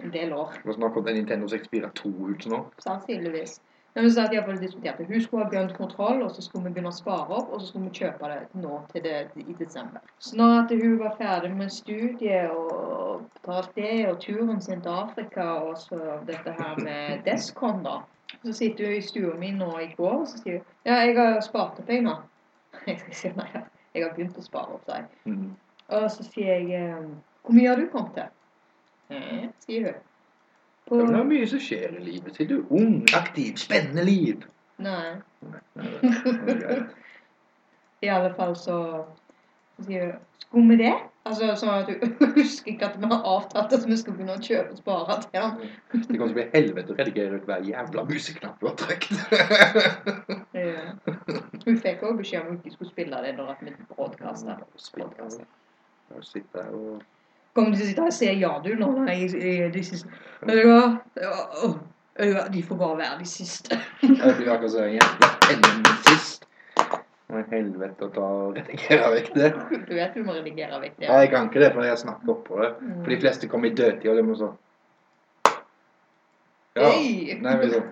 S2: en del år.
S1: Det var snakk om den Nintendo 64 2 ut nå.
S2: Sannsynligvis. Men vi sa at jeg diskuterte. Hun skulle ha begynt kontroll, og så skulle vi begynne å spare opp, og så skulle vi kjøpe det nå til det i desember. Så når at hun var ferdig med studiet og betalt det, og turen sin til Afrika, og så dette her med Descon, da. Så sitter hun i stua mi nå i går, og så sier hun ja, jeg har spart opp, jeg nå. <laughs> Jeg skal si nei, jeg har begynt å spare opp, sa jeg.
S1: Mm.
S2: Og så sier jeg ehm, hvor mye har du kommet til? «Eh», sier hun. På...
S1: Men det er mye som skjer i livet. Sier du ung, aktiv, spennende
S2: <laughs>
S1: liv.
S2: Nei.
S1: Nei, det er greit.
S2: I alle fall så så sier hun Skulle vi det? Altså sånn at hun <laughs> husker ikke at vi har avtalt at vi skal begynne å kjøpe og spare til ham.
S1: Det kommer til å bli helvete å redigere ut hver jævla museknapp du har trykt.
S2: Ja. Hun fikk også beskjed om hun ikke skulle spille det når at vi broadcasta.
S1: Spiller. Bare sitte her og
S2: Kommer de til å sitte her og se ja du nå? Nei, jeg- de siste Vet du hva? Ja, åh. Vet du hva? De får bare være de siste.
S1: Jeg blir akkurat som en jævla tennis sist. Nei, helvete å ta og redigere vekk det.
S2: Du vet du må redigere vekk det.
S1: Nei, jeg kan ikke det, for jeg snakker oppå det. For de fleste kommer i dødtid, og de må sånn Ja.
S2: Hey!
S1: Nei, men sånn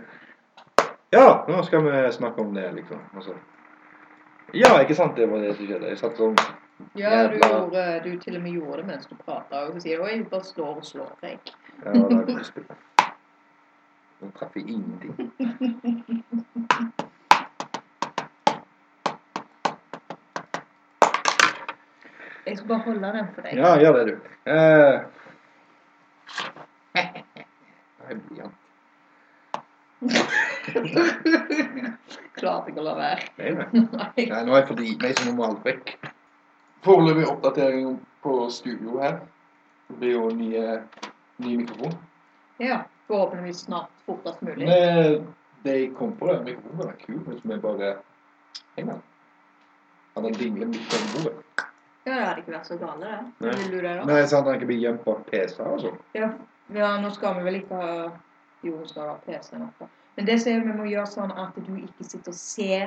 S1: Ja, nå skal vi snakke om det, liksom. Og så Ja, ikke sant? Det var det som skjedde. Jeg satt sånn
S2: Ja, du,
S1: Jævla-
S2: gjorde, du til og med gjorde det mens du prata. Og så sier du 'oi, jeg bare slår og slår deg'.
S1: Ja, det er godt spill. Nå traff jeg ingenting.
S2: Jeg skal bare holde den for deg.
S1: Ja, gjør det, du. Eh. Nei, blyant.
S2: <laughs> Klarte ikke å la være.
S1: Nei, nei.
S2: Nei.
S1: Nei, nå har jeg fått gitt meg, så nå må alt vekk. Foreløpig oppdatering på studio her. Det blir jo ny, eh, ny mikrofon.
S2: Ja. Forhåpentligvis snart. Fortest mulig.
S1: Men de kom på det. Mikrofonen er kul, men som er bare Heng den. Han har dinglet midt over bordet.
S2: Ja, det hadde ikke vært så gale, det.
S1: Nei.
S2: Vil du det, da?
S1: Nei, så han kan ikke bli gjemt bak PC-er og sånn.
S2: Ja. ja, nå skal vi vel ikke ha Jo, hun skal ha PC-en oppe. Men det sier vi må gjøre sånn at du ikke sitter og ser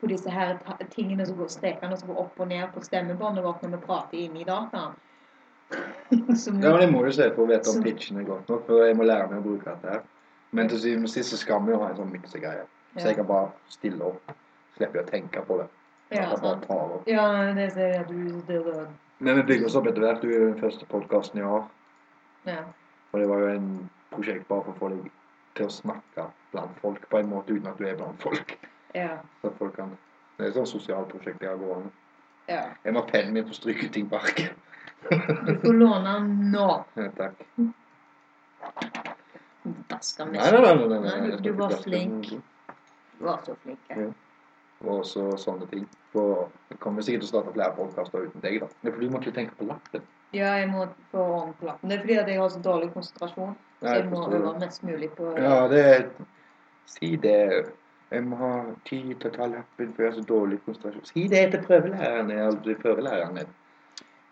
S2: på disse her ta- tingene som går strekene som går opp og ned på stemmebåndet vårt når vi prater inne i dataen. <laughs> Så må-
S1: Ja, men jeg må jo se for å vite om
S2: Så-
S1: pitchen er godt nok, for jeg må lære meg å bruke dette her. Men til syvende og sist så skal vi jo ha en sånn miksegreie. Så
S2: Ja.
S1: jeg kan bare stille opp. Slipper jeg å tenke på det. Jeg
S2: ja,
S1: kan bare
S2: sant.
S1: ta det opp.
S2: ja, det ser jeg at du det, det,
S1: Men vi bygger oss opp etter hvert. Du er jo den første podkasten jeg har.
S2: ja.
S1: Og det var jo en prosjekt bare for å få deg til å snakke blant folk på en måte uten at du er blant folk.
S2: ja,
S1: Så at folk kan... Det er et sånt sosialt prosjekt jeg har gående.
S2: ja.
S1: Jeg må ha pennen min for å stryke ting på arket.
S2: Du får låne den nå.
S1: <laughs> Ja, Takk.
S2: Daska
S1: Nei, nei,
S2: mest.
S1: nei. nei, nei,
S2: Nei,
S1: nei. jeg skal
S2: du- du
S1: ikke
S2: var
S1: kaste den.
S2: flink. Du var så flink. jeg.
S1: Ja. og så sånne ting. For jeg kommer sikkert til å starte flere podkaster uten deg, da. Nei, for du må ikke tenke på lappen.
S2: Ja, jeg må få orden på lappen. Det er fordi at jeg har så dårlig konsentrasjon. Så
S1: Nei,
S2: jeg
S1: jeg
S2: må
S1: forstår
S2: øve
S1: det.
S2: mest mulig på
S1: Ja, det er Si det. Jeg må ha tid til å ta lappen, for jeg har så dårlig konsentrasjon. Si det til prøvelæreren. Jeg har blitt prøvelæreren min.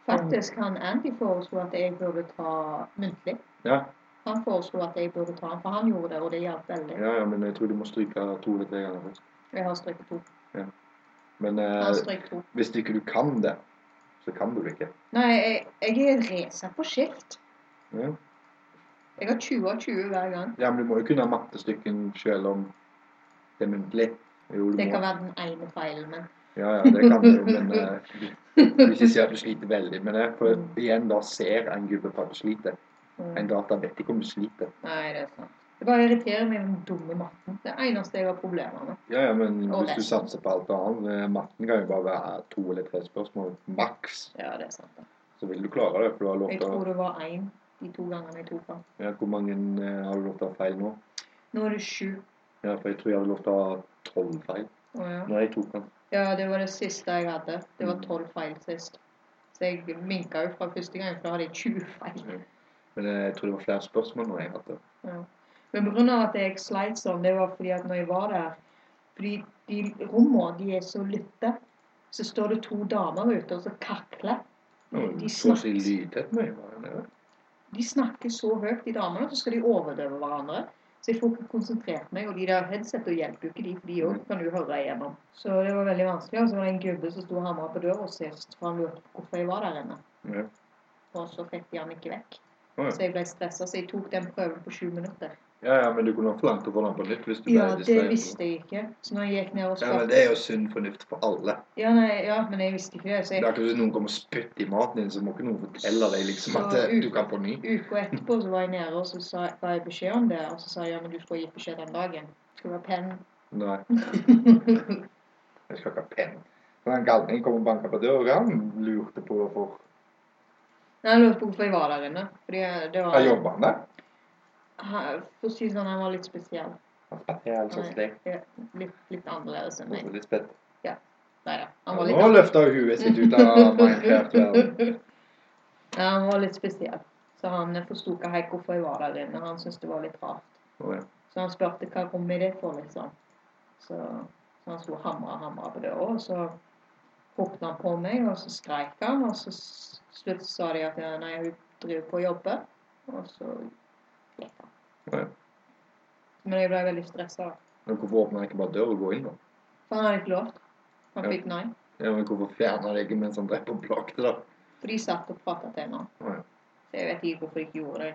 S2: Faktisk han Andy foreslo at jeg burde ta muntlig.
S1: Ja,
S2: Han foreslo at jeg burde ta den, for han gjorde det, og det hjalp veldig.
S1: ja, ja, men jeg tror du må stryke to eller tre ganger først.
S2: Jeg har strøket to.
S1: Men
S2: Jeg
S1: eh,
S2: har strøket to.
S1: hvis ikke du kan det, så kan du det ikke.
S2: Nei, jeg, jeg er racer på skilt.
S1: Ja,
S2: Jeg har 20 av 20 hver gang.
S1: ja men du må jo kunne mattestykken selv om det er muntlig. Jo, du
S2: Det
S1: må.
S2: kan være den ene feilen Mm. min.
S1: Ja, ja, det kan du, men
S2: <laughs>
S1: eh, hvis jeg ser at du sliter veldig med det For igjen, da ser en gubbe på at du sliter. En
S2: Mm.
S1: data vet ikke om du sliter.
S2: Nei, det er sant. Det bare irriterer meg med den dumme matten. Det er det eneste jeg har problemer med.
S1: Ja, ja, men
S2: Og
S1: hvis du
S2: resten.
S1: satser på alt annet eh, Matten kan jo bare være to eller tre spørsmål maks.
S2: Ja, det er sant. da.
S1: Så vil du klare det, for du har lov
S2: Jeg
S1: til å
S2: tror det var én de to gangene jeg tok den.
S1: ja, Hvor mange eh, har du lov til å ha feil nå?
S2: Nå er det sju.
S1: Ja, for jeg tror jeg hadde lov til å ha tolv feil
S2: Å, ja.
S1: når jeg tok den.
S2: Ja, det var det siste jeg hadde. Det var
S1: Mm.
S2: tolv feil sist. Så jeg minka jo fra første gang, for da hadde jeg 20 feil.
S1: Men eh, jeg tror det var flere spørsmål når jeg hadde.
S2: Ja. Men pga. at jeg sleit sånn, det var fordi at når jeg var der Fordi de rommene de er så lytte, så står det to damer ute og så kakler.
S1: Mm,
S2: De
S1: så å si
S2: snakkes.
S1: lydhet mye var det nede.
S2: De snakker så høyt, de damene, og så skal de overdøve hverandre. Så jeg får ikke konsentrert meg, og de der headsetene hjelper jo ikke de, for de òg kan du høre igjennom. Så det var veldig vanskelig. Og så var det en gubbe som sto og hamra på døra sist, for han lurte på hvorfor jeg var der inne.
S1: Ja.
S2: Og så fikk de han ikke vekk.
S1: Å,
S2: Så
S1: ja.
S2: jeg ble stressa, så jeg tok den prøven på sju minutter.
S1: ja, ja, men du kunne ha forlangt å få den på nytt hvis du
S2: Ja,
S1: ble
S2: det
S1: distrahert.
S2: visste jeg ikke. Så når jeg gikk ned og
S1: Ja, men
S2: spurte
S1: Det er jo sunn fornuft for alle.
S2: ja, nei, ja, men jeg visste ikke det. Så
S1: Det er
S2: jeg,
S1: akkurat som noen kommer og spytter i maten din, så må ikke noen fortelle deg liksom at eh, du kan på ny.
S2: uka etterpå så var jeg nede og så sa, ga jeg beskjed om det. Og så sa jeg ja, men du skulle ha gitt beskjed den dagen. Du Skulle være penn. <laughs>
S1: Nei, jeg skal ikke ha penn. Men han galningen kom og banka på døra, han lurte på hvorfor
S2: Nei, jeg lurte på hvorfor jeg var der inne. Fordi det var
S1: Han jobba han der?
S2: han- For å si det sånn, han var litt spesiell.
S1: Han satt her altså slik.
S2: Ja, Litt, litt annerledes enn meg.
S1: Litt spett.
S2: Nei da. Han var litt
S1: Nå løfta hun huet sitt ut
S2: <laughs>
S1: av Minecraft-verden.
S2: Ja, han var litt spesiell. Så han forsto ikke helt hvorfor jeg var der inne. Han syntes det var litt rart.
S1: Å, ja.
S2: Så han spurte hva rom er det for, liksom. Så, så han sto og hamra og hamra på døra, og så ropte han på meg, og så skreik han, og så s- slutt sa de at ja, nei, hun driver på og jobber, og så gikk han.
S1: Å, ja.
S2: Men jeg ble veldig stressa,
S1: Men hvorfor åpner han ikke bare døra og går inn, da?
S2: for han hadde ikke lov. Han
S1: Ja.
S2: fikk nei.
S1: Ja, men hvorfor fjerna de ikke mens han drev og plagte, da?
S2: For de satt og pratet til henne.
S1: Å, ja.
S2: Så jeg vet ikke hvorfor de ikke gjorde det.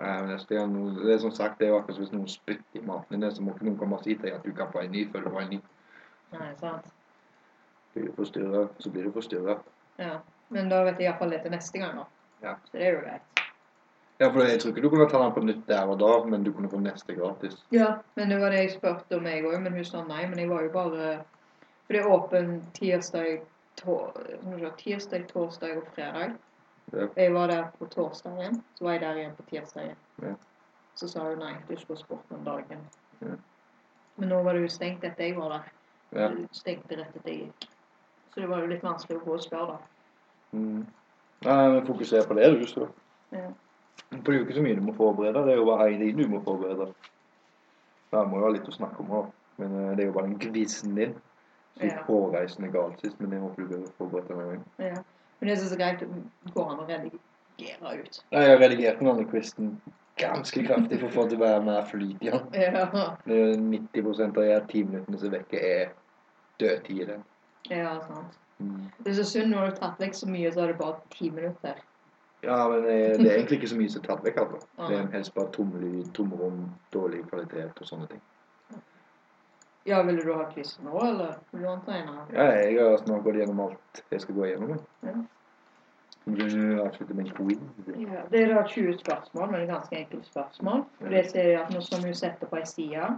S1: Nei, men jeg skal gjøre noe. Det er som sagt, det er jo akkurat som hvis noen spytter i maten din, så må ikke noen komme og si til deg at du kan få en ny før du får en ny.
S2: Nei, sant?
S1: Blir du forstyrra, så blir du forstyrra.
S2: Ja. Men da vet jeg iallfall det til neste gang, da.
S1: Ja.
S2: Så det er jo greit.
S1: Ja, for jeg tror ikke du kunne ta den på nytt der og da, men du kunne få neste gratis.
S2: Ja, men det var det jeg spurte om, jeg òg, men hun sa nei. Men jeg var jo bare For det er åpent tirsdag, tor, hva skal jeg si, tirsdag, torsdag og fredag.
S1: Ja.
S2: Og Jeg var der på torsdagen, så var jeg der igjen på tirsdagen.
S1: Ja.
S2: Så sa hun nei, du skulle spurt om dagen.
S1: Ja.
S2: Men nå var det jo stengt etter jeg var der.
S1: Ja.
S2: Det Stengte rett etter jeg gikk. Så det var jo litt vanskelig å gå og spørre, da.
S1: Mm. Nei, men fokuser på det, du, så.
S2: Ja.
S1: For det er jo ikke så mye du må forberede, det er jo bare én ting du må forberede. Der må jo ha litt å snakke om òg. Men eh, det er jo bare den gvissen din. Så
S2: Ja.
S1: gikk hårreisende galt sist, men det håper du blir forberedt denne gangen.
S2: Ja. Men det som er så greit, det går an å redigere
S1: <laughs>
S2: ut.
S1: Nei, Jeg har redigert den andre quizen ganske kraftig for å få det til å være mer flyt i den.
S2: Ja,
S1: Det er jo 90 av de ti minuttene som er vekke, er dødtid i den.
S2: ja sant.
S1: Mm.
S2: Det er så synd når du har tatt vekk så mye, så er det bare ti minutter.
S1: Ja, men eh, det er egentlig ikke så mye som er tatt vekk. Altså. Det
S2: Ja.
S1: er helst bare tom lyd, tomrom, dårlig kvalitet og sånne ting.
S2: Ja, ville du ha quiz nå, eller vil du ha en senere?
S1: Ja, jeg har altså, snart gått gjennom alt jeg skal gå gjennom.
S2: Ja.
S1: Du avslutter med en quiz.
S2: Ja, det er da 20 spørsmål, men det er ganske enkle spørsmål. For det ser jeg at nå som hun setter på ei side,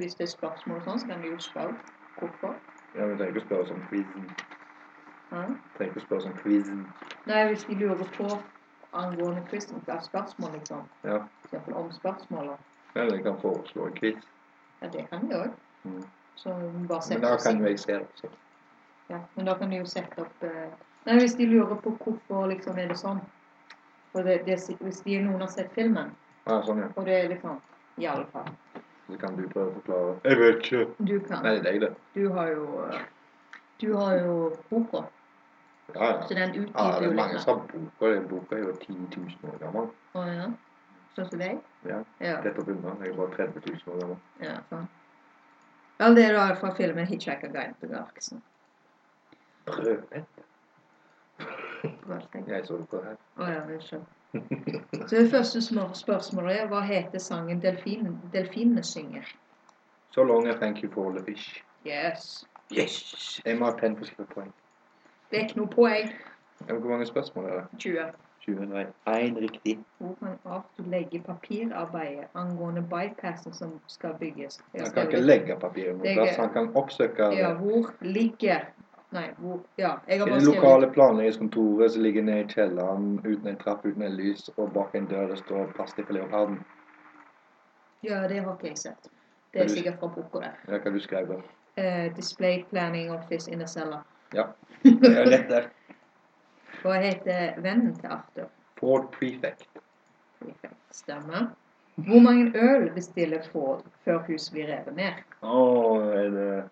S2: hvis det er spørsmål og sånn, så kan du jo spørre hvorfor.
S1: Ja, men trenger ikke å spørre sånn quizen.
S2: Ja.
S1: Trenger ikke å spørre sånn quizen.
S2: Nei, hvis de lurer på angående quizen, hva er spørsmål, liksom.
S1: Ja.
S2: For eksempel om spørsmålet.
S1: Eller jeg kan foreslå en quiz.
S2: Ja, det kan de òg.
S1: Mm.
S2: Så hun bare
S1: Men
S2: setter
S1: da
S2: seg-
S1: kan jo jeg se altså. det. Så.
S2: Ja, men da kan du jo sette opp eh, Nei, hvis de lurer på hvorfor liksom er det sånn For det, det, Hvis de noen har sett filmen,
S1: Ja, sånn, ja.
S2: og det er liksom I alle fall.
S1: Så kan du prøve å forklare. Jeg vet ikke.
S2: Du kan.
S1: Nei, det er deg, det.
S2: Du har jo eh, Du har jo boka,
S1: Ja, ja.
S2: så den
S1: Ja,
S2: utdyper
S1: det
S2: jo
S1: er mange
S2: litt.
S1: som har boka. Den boka er jo 10 000 år gammel.
S2: Å ja. Sånn som deg?
S1: Ja.
S2: Ja.
S1: Rett opp unna. Jeg er bare 30 000 år gammel.
S2: Ja, faen. ja, det er da fra filmen 'Hitchhiker Guide to Garksen'.
S1: Brødpett?
S2: Å
S1: Jeg så det på her.
S2: ja,
S1: <laughs>
S2: unnskyld. Så det første små- spørsmålet er hva heter sangen delfin, 'Delfinene synger'?
S1: So long and thank you for all the fish.
S2: Yes.
S4: Yes!
S1: Jeg må ha penn for å skrive poeng.
S2: Det er ikke noe poeng.
S1: Ja, men Hvor mange spørsmål er det?
S2: 20.
S1: 701 riktig.
S2: Hvor kan Art legge papirarbeidet angående bypassen som skal bygges? Jeg
S1: Han
S2: skrev
S1: kan ikke
S2: litt-
S1: legge papiret
S2: Det
S1: noe
S2: er
S1: plass.
S2: gøy.
S1: Han kan oppsøke
S2: Ja,
S1: det.
S2: hvor ligger Nei, hvor Ja, jeg har
S1: I
S2: bare
S1: det
S2: skrevet
S1: lokale planleggingskontoret som ligger nede i kjelleren uten en trapp, uten en lys, og bak en dør det står 'Pass deg for leoparden'.
S2: Ja, det har ikke jeg sett. Det er
S1: Kan du-
S2: sikkert fra boka der.
S1: Ja, hva du skrev
S2: <laughs>
S1: da?
S2: Eh, display Planning Office in a Cellar.
S1: Ja. Det er jo lett der.
S2: Hva heter vennen til Arthur?
S1: Ford Prefect.
S2: Stemmer. Hvor mange øl bestiller Ford før huset blir revet ned?
S1: Å, er det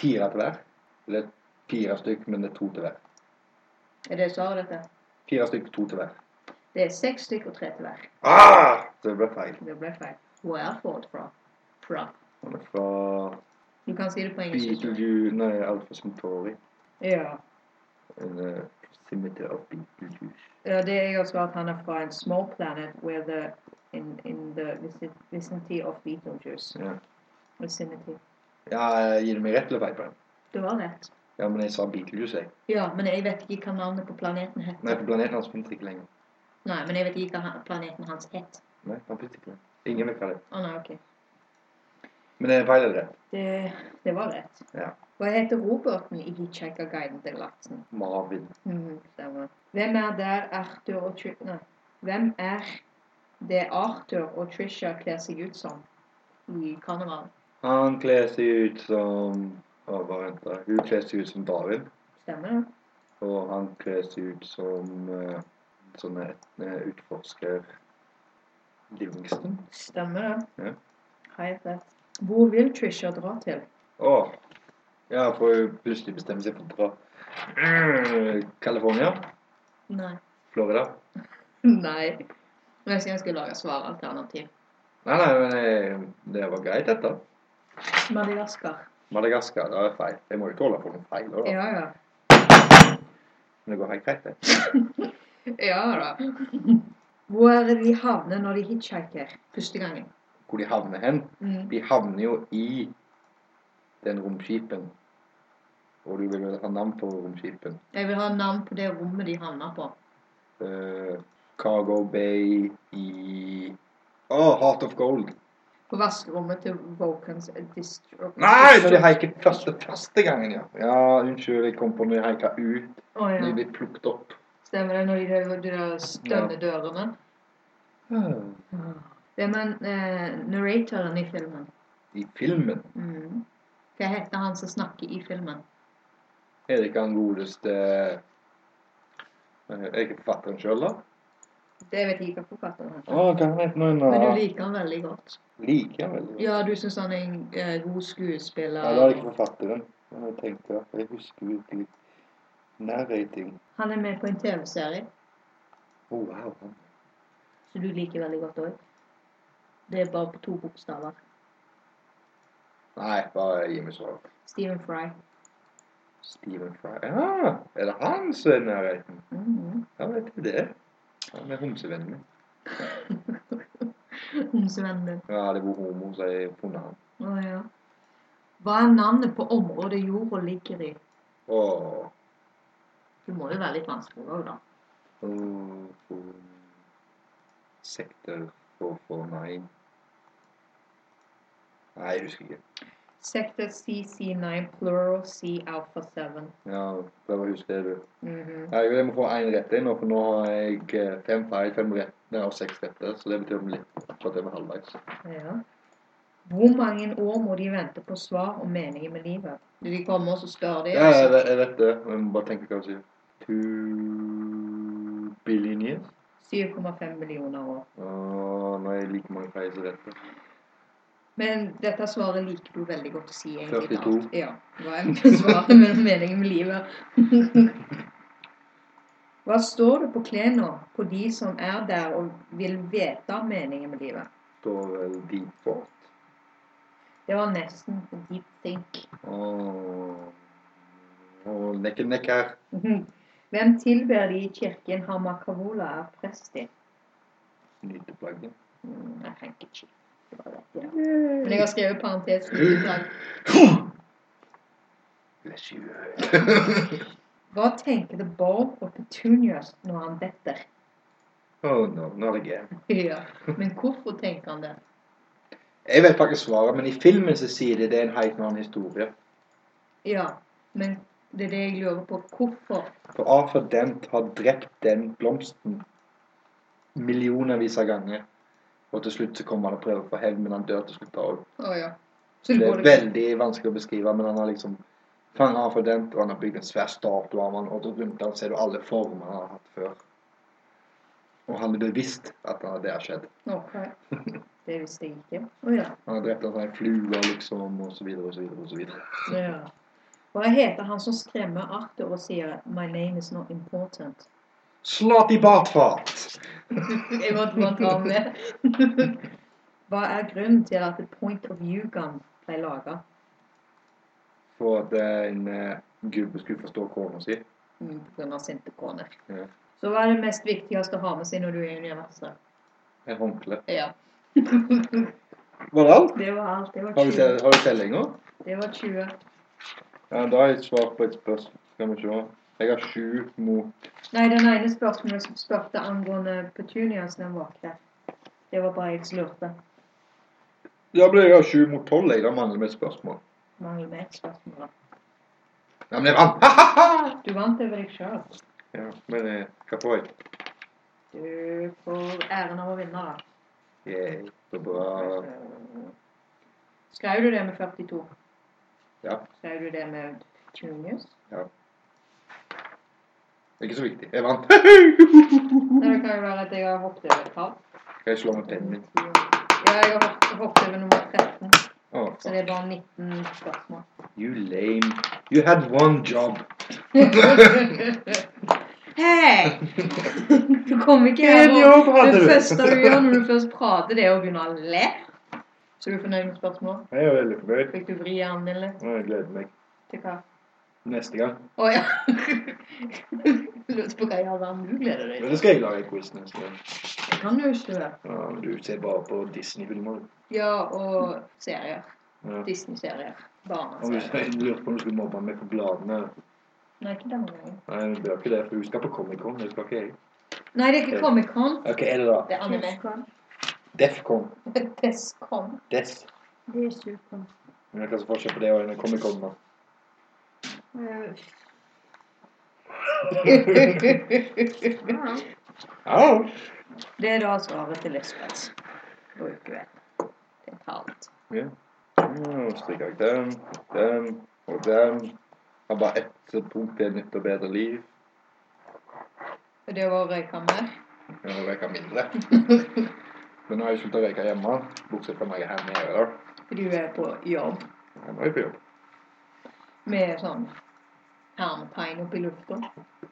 S1: fire til hver? Eller fire stykk, men det er to til hver.
S2: Er det svaret dette?
S1: Fire stykk, to til hver.
S2: Det er seks stykk og tre til hver.
S1: Ah! Så det ble feil.
S2: Det ble feil. Hvor er Ford fra? Fra.
S1: Han er fra
S2: Du kan si det på engelsk. hvis du vil.
S1: Beetleju... Nei, Alfa Centauri.
S2: Ja.
S1: En eh, proximity av Beetlejuice.
S2: Ja, det er jo også at han er fra en small planet where the, in, in the vici- vicinity of Beetlejuice.
S1: Ja.
S2: Vicinity.
S1: ja, gir du meg rett eller feil på den?
S2: Det var rett.
S1: Ja, men jeg sa Beetlejuice, jeg.
S2: Ja, men jeg vet ikke hva navnet på planeten het.
S1: Nei, for planeten hans finnes ikke lenger.
S2: Nei, men jeg vet ikke hva han- planeten hans het.
S1: Nei, han finnes ikke lenger. Ingen vet hva det er.
S2: Å nei, ok.
S1: Men det er feil eller rett?
S2: Det, det var rett.
S1: Ja.
S2: Hva heter Roberten i Hitchhiker-guiden til Larsen?
S1: Marvin.
S2: Mhm, stemmer. Hvem er der Arthur og Tri... Nei. Hvem er det Arthur og Trisha kler seg ut som i karneval?
S1: Han kler seg ut som Å, bare vent, da. Hun kler seg ut som Darwin.
S2: Stemmer det?
S1: Og han kler seg ut som eh, sånn et- eh, utforsker Livingston.
S2: Stemmer det.
S1: Ja.
S2: Helt rett. Hvor vil Trisha dra til?
S1: Å! Ja, for hun plutselig bestemmer seg for å dra Eh, California.
S2: Nei.
S1: Florida.
S2: Nei. Men Jeg synes jeg skal lage svaralternativ.
S1: Nei, nei, men eh, det var greit, dette.
S2: Madagaskar.
S1: Madagaskar, det er feil. Jeg må jo tåle å få noen feil også, da.
S2: Ja, ja.
S1: Men det går helt greit, det.
S2: Ja da. <laughs> Hvor er det de havner når de hitchhiker første gangen?
S1: Hvor de havner hen?
S2: Mm.
S1: De havner jo i den romskipen. Og du vil vel ha navn på romskipen?
S2: Jeg vil ha navn på det rommet de havner på.
S1: Eh, Cargo Bay i Å, Heart of Gold.
S2: På vaskerommet til Vulcans District.
S1: Nei, når de haiker første, første gangen, ja. Ja, Unnskyld, jeg kom på når de haika ut.
S2: Å,
S1: Når de
S2: ja.
S1: blir plukket opp.
S2: Stemmer det, når de driver- de der stønner dørene.
S1: Hmm.
S2: Det er med eh, narratoren i filmen.
S1: I filmen
S2: Mm. Hva heter han som snakker i filmen?
S1: er det ikke han godeste eh, Er det ikke forfatteren sjøl, da?
S2: Det vet jeg ikke hva forfatteren heter.
S1: Å, hva heter han
S2: Men du
S1: nå?
S2: liker han veldig godt.
S1: Liker han veldig godt.
S2: Ja, du syns han er en eh, god skuespiller.
S1: Ja, da er det ikke forfatteren. Men Jeg tenkte at jeg husker jo ikke litt narrating.
S2: Han er med på en TV-serie,
S1: Å, oh, wow. han-
S2: som du liker veldig godt òg. Det er bare på to bokstaver.
S1: Nei, bare gi meg svar.
S2: Stephen Fry.
S1: Stephen Fry. Ja, er det han som er narrating?
S2: <laughs> Mhm.
S1: Ja, vet du det? Han er homsevennen min.
S2: Homsevennen din.
S1: Ja, det var homo, så jeg funnet han.
S2: Å ja. Hva er navnet på området jorda ligger i?
S1: Åh.
S2: Du må jo være litt vanskelig òg, da.
S1: Åh, for... Sektor 449. Nei, jeg husker ikke.
S2: Sector CC9 plural C alpha Mhm. 7.
S1: Ja, prøv å huske det, du. Nei, Jeg må få én rett inn, og for nå har jeg eh, fem feil, fem rett, nei, og seks rette. Så det betyr om litt for at jeg var halvveis.
S2: Ja. Hvor mange år må de vente på svar om meningen med livet? De kommer og så spør de.
S1: Ja, jeg, vet- jeg vet det. Jeg må bare tenke hva jeg sier. Two billion years.
S2: 7,5 millioner år.
S1: Og nå er jeg like mange feil som rette.
S2: Men dette svaret liker du veldig godt å si. egentlig.
S1: 42.
S2: Ja, det var <laughs> egentlig svaret med meningen med livet. <laughs> Hva står det på klærne på de som er der og vil vite meningen med livet?
S1: Står vel deep fort.
S2: Det var nesten deep think. <laughs>
S1: Og, og nekk nekk her.
S2: Hvem tilber de i kirken Hamakavola er prest i?
S1: Nyteplagget.
S2: Mm, Jeg tenker ikke. Det var rett, ja. Men jeg har skrevet parentes i dag.
S4: Bless you.
S2: Hva tenker The Bob og Petunias når han detter?
S1: Oh no, not again.
S2: Ja. Men hvorfor tenker han det?
S1: Jeg vet faktisk svaret, men i filmen så sier de det er en helt annen historie.
S2: Ja, men det er det jeg lurer på. Hvorfor?
S1: For Arthur Dent har drept den blomsten millionervis av ganger. Og til slutt så kommer han og prøver å få hevn, men han dør til slutt da òg.
S2: Å ja. Så
S1: Det
S2: det
S1: er
S2: går det
S1: veldig vanskelig å beskrive, men han har liksom fanget Arthur Dent, og han har bygd en svær statue av han, og rundt ham ser du alle formene han har hatt før. Og han er bevisst at han- det har skjedd.
S2: Ok. Det visste jeg ikke. Å ja.
S1: Han har drept en sånn flue, liksom, og så videre og så videre. Og så videre.
S2: ja. Hva heter han som skremmer Arthur og sier 'My name is not important'?
S1: Slått i bakfart!
S2: Jeg måtte bare ta han
S1: <laughs>
S2: med. Hva er grunnen til at The Point of View-gun ble laga?
S1: For at eh, en eh, gubbe skulle forstå kona si.
S2: Pga. sinte koner.
S1: Ja.
S2: Så hva er det mest viktigste å ha med seg når du er i universet?
S1: Et håndkle.
S2: Ja.
S1: Var det alt?
S2: Det var alt. Det var
S1: Har du,
S2: 20.
S1: te- har du tellinga?
S2: Det var 20.
S1: Ja, da har jeg et svar på et spørsmål. Skal vi se. Jeg har sju mot
S2: Nei, den ene spørsmålet som spurte angående petunias, den var ikke det. Det var bare jeg som lurte.
S1: Ja, men jeg har sju mot tolv. Jeg da mangler vi et spørsmål.
S2: Mangler meg et spørsmål. da.
S1: Ja, men jeg vant! Ha, ha, ha!
S2: Du vant over deg sjøl.
S1: Ja, men eh, hva får jeg?
S2: Du får æren av å vinne, da.
S1: Yeah, så bra.
S2: Skrev du det med 42?
S1: Ja.
S2: Skrev du det med petunias?
S1: Det er ikke så viktig. Jeg <laughs> vant.
S2: Nei, det kan jo være at jeg har hoppet over et tall.
S1: Skal jeg slå med pennen?
S2: Ja, jeg har hoppet- hoppet over nummer 13,
S1: Å,
S2: så det er bare 19 <laughs> spørsmål.
S1: you lame. You had one job.
S2: Hei! Du kom ikke
S1: En
S2: her
S1: jobb
S2: og
S1: hadde
S2: det
S1: du.
S2: første du gjør når du først prater, det er å begynne å le. Så er du fornøyd med spørsmål?
S1: Jeg er veldig fornøyd.
S2: Fikk du vri hjernen din litt?
S1: Og jeg gleder meg
S2: Til hva?
S1: neste gang.
S2: Å ja. <laughs> Lurte på hva i all verden du gleder deg
S1: Men
S2: til.
S1: det skal jeg lage en quiz neste gang.
S2: Det kan du ikke gjøre.
S1: Ja, men du ser bare på Disney-filmer. du.
S2: Ja, og serier.
S1: Ja.
S2: Disney-serier.
S1: Og hvis
S2: Barneserier.
S1: jeg lurte på om du skulle mobbe meg for bladene
S2: Nei, ikke denne gangen.
S1: Nei, du gjør ikke det, for du skal på Comic-Con. Det skal ikke jeg.
S2: Nei, det er ikke Comic-Con.
S1: Ok, er det da?
S2: Det er <laughs> anime.
S3: Tyskland.
S1: Defcon.
S2: <laughs> Descon.
S1: Des.
S3: Det er Tyskland.
S1: Men hva er forskjellen på det og en Comic-Con, da?
S3: Eh,
S2: det
S3: ja.
S1: Au!
S2: er da svaret til Lisbeth. Bruker vi. Det er kaldt.
S1: Mm, Stryker jeg den, den og den. Har bare ett punkt. Det er nytt og bedre liv.
S2: Og det var røykammer.
S1: Men å røyke <laughs> mindre. Men nå har jeg sluttet å røyke hjemme, bortsett fra når jeg er her nede. da.
S2: Fordi du er på jobb
S1: Jeg må jo på jobb.
S2: med sånn armtegn oppi lufta.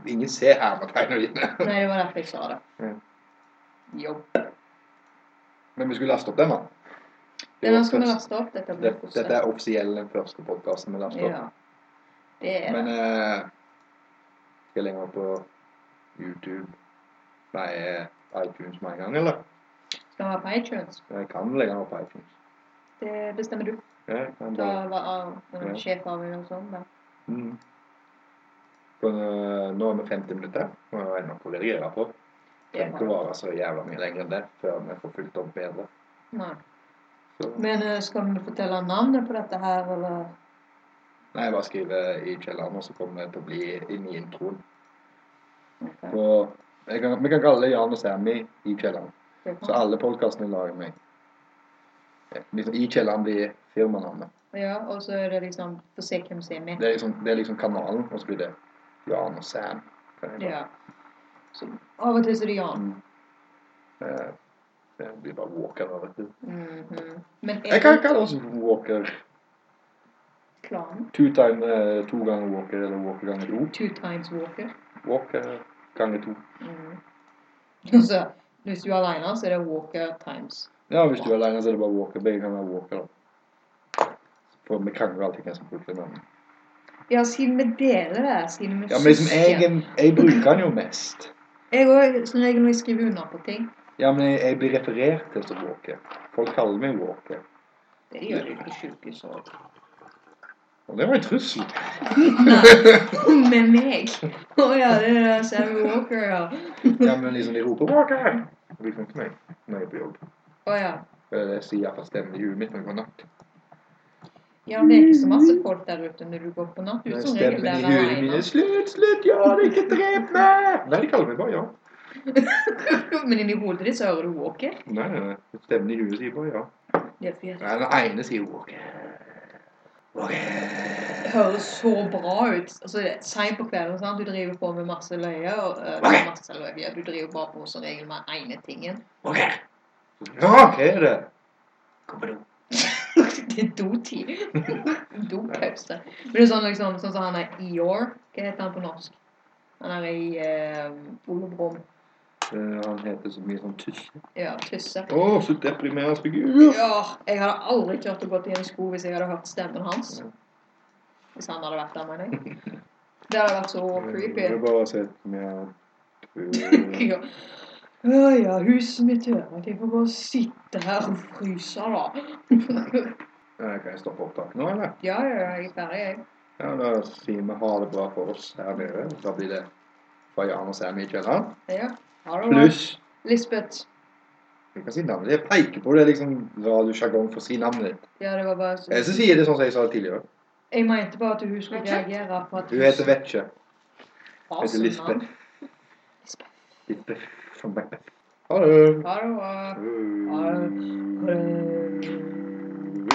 S1: Ingen ser hermetegnene dine.
S2: Nei, det var derfor jeg sa det.
S1: Mm.
S2: Jobb.
S1: Men vi skulle laste opp den, da. Det
S2: Denne
S1: var
S2: skal vi
S1: først-
S2: laste opp. Dette blir
S1: det-
S2: koselig.
S1: Dette er offisiell den første podkasten vi laster opp.
S2: Ja. Det er
S1: Men
S2: det.
S1: eh, skal jeg lenger opp på YouTube Nei, eh, iTunes med en gang, eller?
S2: Skal vi ha på iTunes?
S1: Jeg kan legge den opp på iTunes.
S2: Det bestemmer du.
S1: Ja, jeg kan
S2: Da
S1: bare...
S2: var av sånn,
S1: Ja.
S2: sjefavgjørelse om det.
S1: Mhm. Så, eh, Nå er vi 50 minutter, og jeg er nok å reagere på.
S2: Det
S1: Trenger
S2: var-
S1: ikke å være så jævla mye lenger enn det før vi får fulgt opp bedre.
S2: Nei.
S1: Så,
S2: Men eh, skal vi fortelle navnet på dette her, eller?
S1: nei, jeg bare skriver i kjelleren, og så kommer det til å bli inn i introen.
S2: Ok,
S1: Så jeg kan, vi kan kalle det Jan og Sammy i kjelleren.
S2: det
S1: Så
S2: kan-
S1: alle podkastene lager meg. Eh, Liksom, I kjelleren blir firmanavnet.
S2: Ja, og så er det liksom For å se hvem som er med.
S1: Det er liksom, det er liksom kanalen, og så blir det Jan og Sam. Kan jeg bare-
S2: Ja. Så av og til så er det Jan.
S1: Mm. Eh, Det blir bare Walker. da, vet du.
S2: Mhm. Men
S1: Jeg kan
S2: er
S1: kalle oss Walker.
S2: det klanen?
S1: Two time, eh, to ganger Walker, eller Walker ganger to.
S2: Two times walker.
S1: Walker ganger to.
S2: Mhm. Og <laughs> så hvis du er aleine, så er det walker times.
S1: Ja, hvis du er alene, så er det bare Walker. Begge kan være Walker, da. For vi kan jo alltid hvem som bruker navnet.
S2: Ja, siden vi deler det, siden vi
S1: Ja, men liksom, jeg, jeg bruker den jo mest.
S2: Jeg òg, som regel når jeg skriver under på ting.
S1: Ja, men jeg, jeg blir referert til som Walker. Folk kaller meg Walker.
S2: Det gjør du på sjukehus
S1: <laughs>
S2: òg.
S1: Og det var en <laughs> trussel.
S2: Med meg. Å ja, det er det Sammy Walker, ja.
S1: Ja, men liksom, de roper Walker. Det blir ikke meg når jeg er på jobb.
S2: Å ja.
S1: Eller jeg sier iallfall stemmen i huet mitt når jeg går natt.
S2: Ja, men det er ikke så masse folk der ute når du går på natthus.
S1: Men
S2: Som regel
S1: Eh, Stemmen i
S2: der
S1: huet mitt
S2: alene.
S1: er Slutt, slutt, ja, det er ikke drep meg! Nei, de kaller meg bare ja.
S2: <laughs> Men inni hodet ditt så hører du Walker.
S1: Nei, nei, nei. Stemmen i huet sier bare ja.
S2: Det er fordi
S1: Nei, den ene sier Walker.
S2: det høres så bra ut. Altså, det er Seint på kvelden, sant? du driver på med masse løye. Og, eh,
S1: Walker.
S2: masse løye. Du driver bare på som regel med ene tingen. <laughs>
S4: Walker,
S1: Ja, hva er det?
S4: kom på do.
S2: det er dotid. <laughs> Dopause. Men det er sånn liksom, sånn som han er Eeyore. Hva heter han på norsk? Han er i eh, Ole Brumm.
S1: Eh, han heter så mye sånn tusse.
S2: Ja, Tusse.
S1: Å, så deprimerende figur!
S2: Ja, jeg hadde aldri klart å gå til en sko hvis jeg hadde hørt stemmen hans. Hvis han hadde vært der, mener jeg. Det hadde vært så creepy.
S1: Eh, Jeg vil bare se
S2: <laughs>
S1: mer
S2: Ja. Ja, ja, huset mitt hører at jeg får bare sitte her og fryse, da.
S1: Kan jeg stoppe opptaket nå, eller?
S2: Ja, ja, ja, jeg er ferdig, jeg.
S1: Ja, Da sier vi ha det bra for oss her nede. Da blir det fra Jan og Sam i kjelleren.
S2: Ja, ha det bra.
S1: Pluss
S2: Lisbeth.
S1: Jeg kan si navnet ditt. Jeg peker på det er liksom radiosjargong for å si navnet ditt.
S2: Ja, det var bare
S1: Jeg så
S2: så...
S1: sier det sånn som jeg sa det tidligere.
S2: Jeg mente bare at hun skulle
S3: Vet du?
S2: reagere på at sånn.
S1: Hun heter Vetche. Hun heter
S2: Lisbeth.
S1: Lisbeth. Lisbeth. Som Macbeth. Ha det.
S2: Ha det bra.
S1: Ha
S2: det.